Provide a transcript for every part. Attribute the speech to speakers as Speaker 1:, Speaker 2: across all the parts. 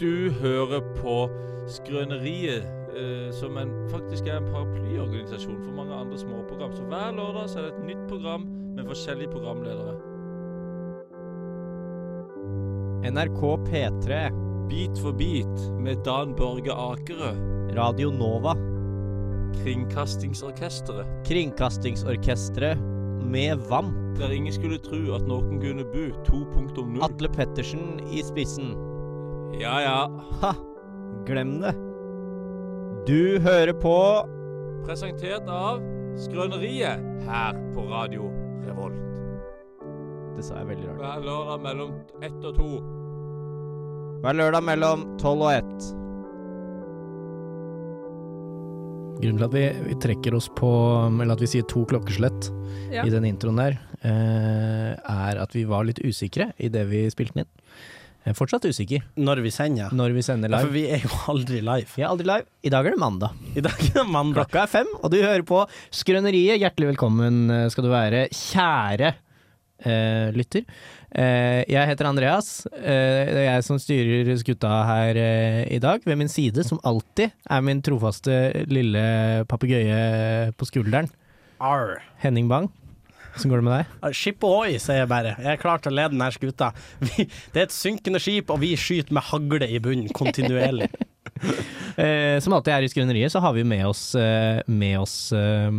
Speaker 1: Du hører på Skrøneriet, eh, som en, faktisk er en paraplyorganisasjon for mange andre småprogram. Så hver lørdag så er det et nytt program med forskjellige programledere.
Speaker 2: NRK P3,
Speaker 1: Bit for bit med Dan Børge Akerø,
Speaker 2: Radio Nova,
Speaker 1: Kringkastingsorkesteret.
Speaker 2: Kringkastingsorkestret med VAMP,
Speaker 1: Der ingen skulle tro at noen kunne bo 2.0.
Speaker 2: Atle Pettersen i spissen.
Speaker 1: Ja, ja.
Speaker 2: Ha! Glem det. Du hører på
Speaker 1: Presentert av Skrøneriet her på Radio Revolt.
Speaker 2: Det sa jeg veldig rart.
Speaker 1: Hver lørdag mellom ett og to.
Speaker 2: Hver lørdag mellom tolv og ett.
Speaker 3: Grunnen til at vi, vi trekker oss på, eller at vi sier to klokkeslett
Speaker 4: Ja.
Speaker 3: i den introen der, eh, er at vi var litt usikre i det vi spilte den inn. Jeg er fortsatt usikker
Speaker 5: Når vi sender.
Speaker 3: når vi sender
Speaker 5: Ja, for
Speaker 3: live.
Speaker 5: vi er jo aldri live.
Speaker 3: Vi er aldri live. I dag er det mandag.
Speaker 5: I dag er det mandag.
Speaker 3: Klokka er fem, og du hører på Skrøneriet. Hjertelig velkommen eh, skal du være, kjære eh, lytter. Eh, jeg heter Andreas. Eh, det er jeg som styrer skuta her eh, i dag. Ved min side, som alltid, er min trofaste lille papegøye på skulderen,
Speaker 5: Arr.
Speaker 3: Henning Bang. Hvordan går det med deg?
Speaker 5: Skip ohoi, sier jeg bare. Jeg er klar til å lede denne skuta. Vi, det er et synkende skip, og vi skyter med hagle i bunnen kontinuerlig.
Speaker 3: Eh, som alltid er i Skrøneriet, så har vi med oss, eh, med oss eh,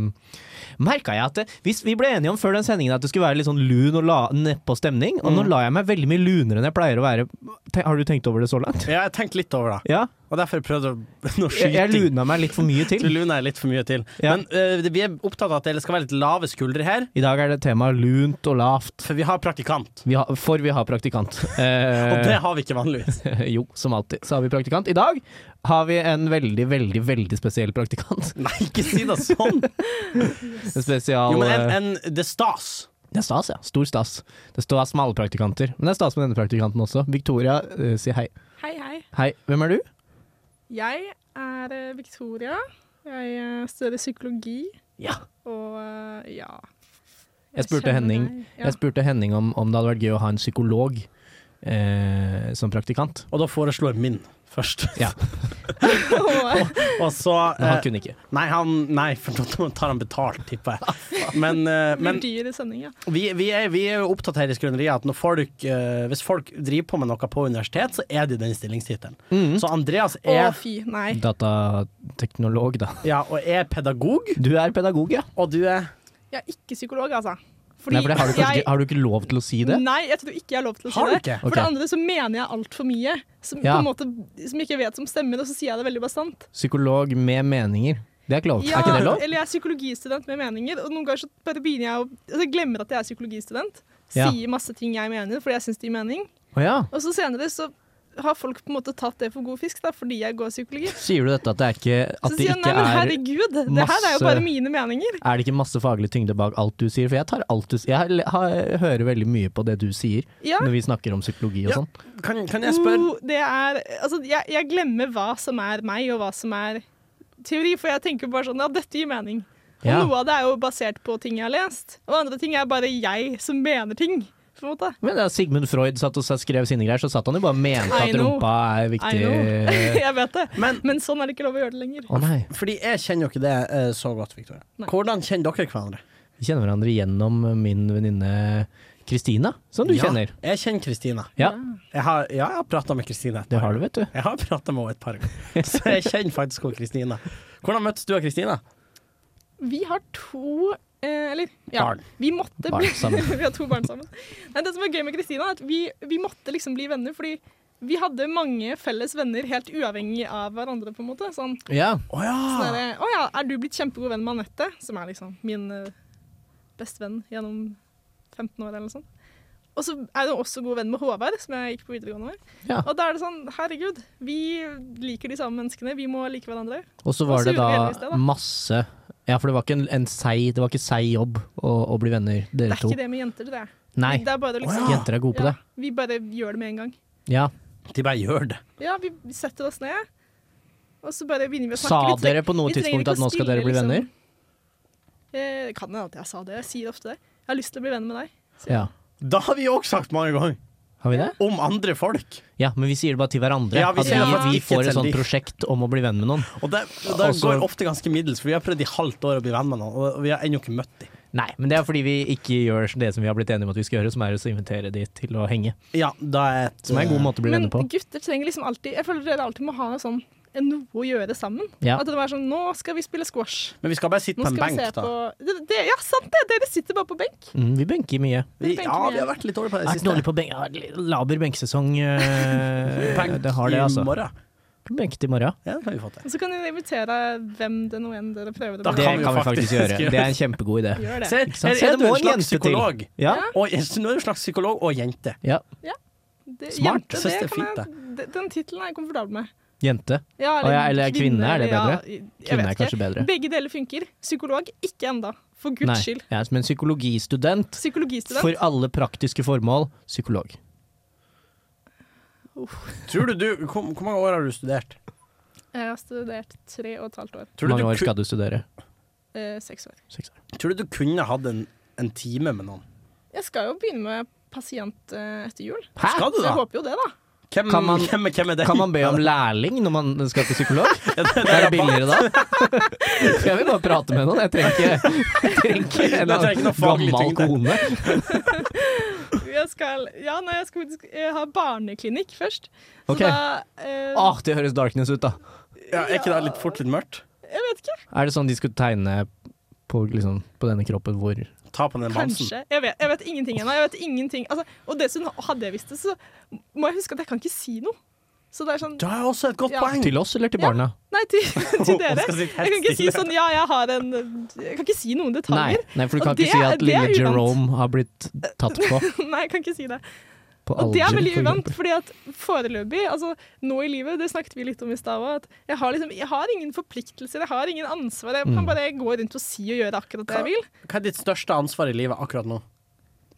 Speaker 3: Merka jeg at det, hvis vi ble enige om før den sendingen at det skulle være litt sånn lun og la, nedpå stemning, og nå la jeg meg veldig mye lunere enn jeg pleier å være. Te- Har du tenkt over det så langt?
Speaker 5: Ja, jeg har tenkt litt over det,
Speaker 3: Ja?
Speaker 5: og derfor prøvde jeg å noe
Speaker 3: Jeg, jeg
Speaker 5: skyting.
Speaker 3: luna meg litt for mye
Speaker 5: Du
Speaker 3: til.
Speaker 5: luner jeg litt for mye til.
Speaker 3: Ja.
Speaker 5: Men eh, det- vi er opptatt av at det skal være litt lave skuldre her,
Speaker 3: I dag er det tema lunt og lavt,
Speaker 5: for vi har praktikant.
Speaker 3: vi har, for vi har praktikant.
Speaker 5: Og det
Speaker 3: Eh,
Speaker 5: har vi ikke vanligvis.
Speaker 3: jo, som alltid, så har vi praktikant. I dag har vi en veldig, veldig, veldig spesiell praktikant.
Speaker 5: Nei, ikke si det sånn!
Speaker 3: En spesial
Speaker 5: Jo, men en,
Speaker 3: eh,
Speaker 5: en, det er stas.
Speaker 3: Det er stas, ja. Stor stas. Det står smale praktikanter. Men det er stas med denne praktikanten også. Victoria, eh, si hei.
Speaker 4: Hei, hei.
Speaker 3: Hei, hvem er du?
Speaker 4: Jeg er eh, Victoria. Jeg eh, studerer psykologi,
Speaker 3: Ja.
Speaker 4: og eh, ja
Speaker 3: Jeg spurte
Speaker 4: kjenner
Speaker 3: Henning.
Speaker 4: deg. Ja.
Speaker 3: Jeg spurte Henning om, om det hadde vært gøy å ha en psykolog eh, som praktikant.
Speaker 5: Og da foreslår min først.
Speaker 3: Ja.
Speaker 4: Og,
Speaker 5: Og så
Speaker 3: Men han
Speaker 5: eh,
Speaker 3: kunne ikke. Ah,
Speaker 5: Nei, han, nei, for nå tar han betalt, tipper jeg. Men, eh,
Speaker 4: men
Speaker 5: men
Speaker 4: dyr i sending, ja.
Speaker 5: vi, vi, er, vi er jo opptatt her i Skrøneriet at når folk, eh, hvis folk driver på med noe på universitet, så er det den stillingstittelen.
Speaker 3: Mm.
Speaker 5: Så Andreas
Speaker 4: Å,
Speaker 5: er,
Speaker 4: fy. Nei.
Speaker 3: Datateknolog, da.
Speaker 5: ja, og er pedagog,
Speaker 3: Du er pedagog, ja.
Speaker 5: og du er
Speaker 4: Jeg er ikke psykolog, altså. Fordi
Speaker 3: Nei, for det har, du kanskje,
Speaker 4: jeg-
Speaker 3: ikke- har du ikke lov til å si det?
Speaker 4: Nei, jeg tror ikke jeg har lov til å si
Speaker 5: Har du
Speaker 4: det.
Speaker 5: ikke?
Speaker 4: For
Speaker 3: Ok.
Speaker 4: det andre så mener jeg altfor mye som,
Speaker 3: Ja.
Speaker 4: på en måte, som jeg ikke vet som stemmer, og så sier jeg det veldig bastant.
Speaker 3: Psykolog med meninger. Det er ikke lov.
Speaker 4: Ja,
Speaker 3: Er ikke det lov?
Speaker 4: Eller jeg er psykologistudent med meninger, og noen ganger så bare begynner jeg å altså, jeg glemmer at jeg er psykologistudent.
Speaker 3: Ja.
Speaker 4: Sier masse ting jeg mener fordi jeg syns det gir mening.
Speaker 3: Å ja.
Speaker 4: Og så senere så har folk på en måte tatt det for god fisk da, fordi jeg går psykologi.
Speaker 3: Sier du dette at det er ikke
Speaker 4: Så
Speaker 3: At det
Speaker 4: sier jeg nei,
Speaker 3: ikke
Speaker 4: men
Speaker 3: er
Speaker 4: herregud, det her er
Speaker 3: masse-
Speaker 4: jo bare mine meninger.
Speaker 3: Er det ikke masse faglig tyngde bak alt du sier? For jeg, tar alt du, s- jeg, l- har, hører veldig mye på det du sier
Speaker 4: Ja.
Speaker 3: når vi snakker om psykologi og
Speaker 5: Ja.
Speaker 3: sånn.
Speaker 5: Kan, kan jeg spørre?
Speaker 4: Oh, det er, altså, jeg, jeg glemmer hva som er meg, og hva som er teori, for jeg tenker bare sånn ja, dette gir mening. Og
Speaker 3: Ja.
Speaker 4: noe av det er jo basert på ting jeg har lest, og andre ting er bare jeg som mener ting. på en måte.
Speaker 3: Men da Sigmund Freud satt og sa- skrev sine greier, så satt han jo bare og mente
Speaker 4: I
Speaker 3: at
Speaker 4: know.
Speaker 3: rumpa er
Speaker 4: I know.
Speaker 3: viktig.
Speaker 4: jeg vet det.
Speaker 5: Men-
Speaker 4: Men sånn er det ikke lov å gjøre det lenger.
Speaker 3: Å nei.
Speaker 5: Fordi jeg kjenner jo ikke det eh, så godt, Victoria.
Speaker 4: Nei.
Speaker 5: Hvordan kjenner dere hverandre?
Speaker 3: Vi kjenner hverandre gjennom min venninne Kristina, som du
Speaker 5: ja,
Speaker 3: kjenner.
Speaker 5: Jeg kjenner Kristine.
Speaker 3: Ja,
Speaker 5: Jeg har, ja, jeg har prata med Kristine.
Speaker 3: det har du, vet du.
Speaker 5: Jeg har prata med henne et par ganger, så jeg kjenner faktisk henne Kristine. Hvordan møttes du og Kristine?
Speaker 4: Vi har to eh, Eller ja,
Speaker 5: Barn.
Speaker 4: vi måtte
Speaker 3: Barn
Speaker 4: bli
Speaker 3: sammen.
Speaker 4: Vi har to barn sammen. Nei, det som er gøy med Kristina, er at vi, vi måtte liksom bli venner fordi vi hadde mange felles venner helt uavhengig av hverandre, på en måte. Sånn,
Speaker 3: Ja.
Speaker 5: Å ja!
Speaker 3: Ah.
Speaker 4: sånn er det, Å ja, er du blitt kjempegod venn med Anette? Som er liksom min eh, bestevenn gjennom 15 år, eller noe sånt. Og så er hun også god venn med Håvard, som jeg gikk på videregående med.
Speaker 3: Ja.
Speaker 4: Og da er det sånn, herregud, vi liker de samme menneskene, vi må like hverandre.
Speaker 3: Og så
Speaker 4: Og så
Speaker 3: var det
Speaker 4: gjorde vi heldigvis det,
Speaker 3: da
Speaker 4: da.
Speaker 3: masse Ja, for det var ikke en, en seig Det var ikke seig jobb å, å bli venner,
Speaker 4: Det
Speaker 3: dere
Speaker 4: er
Speaker 3: to.
Speaker 4: ikke det med jenter, det.
Speaker 3: Nei.
Speaker 4: Det er bare liksom
Speaker 3: Jenter er gode på
Speaker 4: Ja,
Speaker 3: det.
Speaker 4: Vi bare gjør det med en gang.
Speaker 3: Ja.
Speaker 5: De bare gjør det.
Speaker 4: Ja, vi vi setter oss ned, og så bare begynner vi å snakke.
Speaker 3: Sa
Speaker 4: Vi treng-
Speaker 3: dere på noe
Speaker 4: vi trenger
Speaker 3: tidspunkt
Speaker 4: ikke
Speaker 3: at
Speaker 4: å
Speaker 3: nå skal dere
Speaker 4: spille,
Speaker 3: bli
Speaker 4: liksom.
Speaker 3: venner?
Speaker 4: Eh, det kan hende at jeg sa det. Jeg sier ofte det. Jeg har lyst til å bli venn med deg.
Speaker 3: Ja.
Speaker 5: Da har vi òg sagt mange ganger.
Speaker 3: Har vi det?
Speaker 5: Om andre folk.
Speaker 3: Ja, men vi sier det bare til hverandre.
Speaker 5: Ja, vi
Speaker 3: at vi,
Speaker 4: sier det
Speaker 3: vi
Speaker 5: faktisk ikke
Speaker 3: får et
Speaker 5: til
Speaker 3: sånt
Speaker 5: de.
Speaker 3: prosjekt om å bli venn med noen.
Speaker 5: Og det, og det
Speaker 3: Og så-
Speaker 5: går ofte ganske middels, for vi har prøvd i halvt år å bli venn med noen, og vi har ennå ikke møtt dem.
Speaker 3: Nei, men det er fordi vi ikke gjør det som vi har blitt enige om at vi skal gjøre, som er å invitere de til å henge.
Speaker 5: Ja, da er et,
Speaker 3: Som er en god måte å bli
Speaker 4: Men
Speaker 3: venner på.
Speaker 4: gutter trenger liksom alltid Jeg føler dere alltid må ha en sånn en noe å gjøre sammen.
Speaker 3: Ja.
Speaker 4: At det var sånn Nå skal vi spille squash.
Speaker 5: Men vi skal bare sitte
Speaker 4: Nå
Speaker 5: på en
Speaker 4: skal vi
Speaker 5: benk,
Speaker 4: se
Speaker 5: da.
Speaker 4: på det, det, Ja, sant det! Dere sitter bare på benk.
Speaker 3: Mm, vi benker mye.
Speaker 5: Vi,
Speaker 4: Vi benker
Speaker 5: ja,
Speaker 4: mye.
Speaker 5: vi har vært litt dårlige på
Speaker 3: Jeg
Speaker 5: det
Speaker 3: er ikke dårlig på benk. Jeg har litt Laber benkesesong. eh,
Speaker 5: Benk
Speaker 3: det har det, altså.
Speaker 5: i morgen.
Speaker 3: Benket i morgen.
Speaker 5: Ja, det kan vi få til.
Speaker 4: Og så kan dere invitere hvem det nå enn dere prøver det
Speaker 5: Da
Speaker 3: Det
Speaker 4: med.
Speaker 5: kan
Speaker 3: kan
Speaker 5: vi
Speaker 3: vi faktisk,
Speaker 5: faktisk
Speaker 3: gjøre.
Speaker 5: gjøre.
Speaker 3: Det er en kjempegod idé.
Speaker 4: Gjør det.
Speaker 5: Se,
Speaker 3: Ikke sant?
Speaker 5: her
Speaker 3: Se,
Speaker 5: er
Speaker 3: det
Speaker 5: du
Speaker 3: må
Speaker 5: en
Speaker 3: en
Speaker 5: slags
Speaker 3: jente til.
Speaker 5: psykolog.
Speaker 3: Ja.
Speaker 5: Og, nå er du en slags psykolog og jente.
Speaker 3: ja.
Speaker 4: det
Speaker 5: Smart.
Speaker 4: jente,
Speaker 5: Synes det er
Speaker 4: kan jeg-
Speaker 5: fint,
Speaker 4: det- Den tittelen er jeg komfortabel med.
Speaker 3: Jente.
Speaker 4: Ja,
Speaker 3: Å ja, eller kvinne, er det
Speaker 4: ja,
Speaker 3: bedre?
Speaker 4: jeg vet
Speaker 3: Kvinne er
Speaker 4: ikke.
Speaker 3: kanskje bedre.
Speaker 4: Begge deler funker. Psykolog ikke enda, for guds
Speaker 3: Nei.
Speaker 4: skyld.
Speaker 3: Ja, som en psykologistudent.
Speaker 4: Psykologistudent.
Speaker 3: For alle praktiske formål psykolog.
Speaker 5: Tror du du, hvor, hvor mange år har du studert?
Speaker 4: Jeg har studert tre og et halvt år.
Speaker 5: Tror
Speaker 3: Hvor
Speaker 5: du, du,
Speaker 3: mange år
Speaker 5: ku-
Speaker 3: skal du studere?
Speaker 4: Eh, seks år.
Speaker 3: Seks år.
Speaker 5: tror du du kunne hatt en, en time med noen?
Speaker 4: Jeg skal jo begynne med pasient eh, etter jul.
Speaker 5: Skal du
Speaker 4: Så jeg
Speaker 5: da?
Speaker 4: håper jo det, da.
Speaker 5: Hvem,
Speaker 3: Kan man-
Speaker 5: hvem, hvem er det?
Speaker 3: Kan man be om lærling når man skal til psykolog?
Speaker 5: Ja, det- det
Speaker 3: Er
Speaker 5: er
Speaker 3: det billigere da? Jeg vil bare prate med noen. Jeg trenger ikke, jeg trenger ikke en
Speaker 5: Jeg trenger ikke noe faglig
Speaker 3: gammel
Speaker 5: tyngde.
Speaker 3: kone.
Speaker 4: Jeg skal, ja, nei, jeg skal faktisk eh, ha barneklinikk først. Så
Speaker 3: Ok. Ah.
Speaker 4: da eh,
Speaker 3: Åh, det høres darkness ut, da.
Speaker 5: Ja, er ikke det litt fort litt mørkt?
Speaker 4: Jeg vet ikke.
Speaker 3: Er det sånn de skulle tegne på, liksom, på denne kroppen hvor
Speaker 5: Ta på den bamsen.
Speaker 4: Kanskje. Jeg vet, jeg vet ingenting ennå. Jeg vet ingenting. Altså, og dessuten, hadde jeg visst det, så må jeg huske at jeg kan ikke si noe. Så det er sånn
Speaker 5: Det er også et godt
Speaker 4: Ja.
Speaker 5: poeng.
Speaker 3: Til oss eller til
Speaker 4: Ja.
Speaker 3: barna?
Speaker 4: Nei, til, til dere.
Speaker 5: skal sitte
Speaker 4: Jeg
Speaker 5: helt
Speaker 4: kan ikke si
Speaker 5: stille.
Speaker 4: sånn ja, jeg har en Jeg kan ikke si noen
Speaker 3: Nei,
Speaker 4: detaljer.
Speaker 3: nei, for du kan
Speaker 4: Og det
Speaker 3: ikke si
Speaker 4: er-
Speaker 3: at
Speaker 4: det er
Speaker 3: lille
Speaker 4: uvant.
Speaker 3: Jerome har blitt tatt på.
Speaker 4: Nei. jeg kan ikke si det.
Speaker 3: på
Speaker 4: Og det er
Speaker 3: alder,
Speaker 4: veldig
Speaker 3: for
Speaker 4: uvant,
Speaker 3: eksempel.
Speaker 4: fordi at foreløpig, altså nå i livet, det snakket vi litt om i stad òg, at jeg har, liksom, jeg har ingen forpliktelser, jeg har ingen ansvar. Jeg
Speaker 3: Mm.
Speaker 4: kan bare gå rundt og si og gjøre akkurat det jeg vil.
Speaker 5: Hva er ditt største ansvar i livet akkurat nå?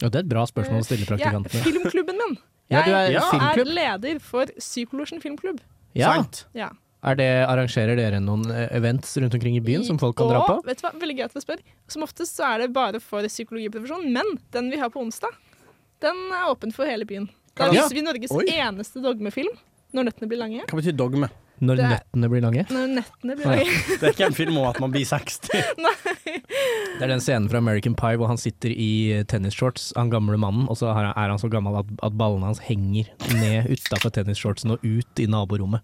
Speaker 3: Ja, det er et bra spørsmål å stille
Speaker 4: Jeg,
Speaker 3: praktikantene.
Speaker 4: filmklubben min.
Speaker 3: Ja, du er
Speaker 4: Jeg er
Speaker 3: filmklubb.
Speaker 4: leder for Psykolosjen filmklubb.
Speaker 3: Ja.
Speaker 5: Sant?
Speaker 4: Ja.
Speaker 3: Er det, arrangerer dere noen eh, events rundt omkring i byen som folk kan dra på?
Speaker 4: Og, vet du hva, veldig gøy at du spør. Som oftest så er det bare for psykologiprofesjonen, men den vi har på onsdag, den er åpen for hele byen. Da
Speaker 5: Ja.
Speaker 4: viser vi Norges
Speaker 5: Oi.
Speaker 4: eneste dogmefilm, 'Når nøttene blir lange'.
Speaker 5: Hva betyr dogme?
Speaker 3: Når
Speaker 4: det er-
Speaker 3: nettene blir lange?
Speaker 4: Når nettene blir
Speaker 3: Nei.
Speaker 4: lange.
Speaker 5: Det er ikke en film om at man blir 60.
Speaker 3: Det er den scenen fra American Pie hvor han sitter i eh, tennisshorts, han gamle mannen, og så har han- er han så gammel at, at ballene hans henger ned utafor tennisshortsen og ut i naborommet.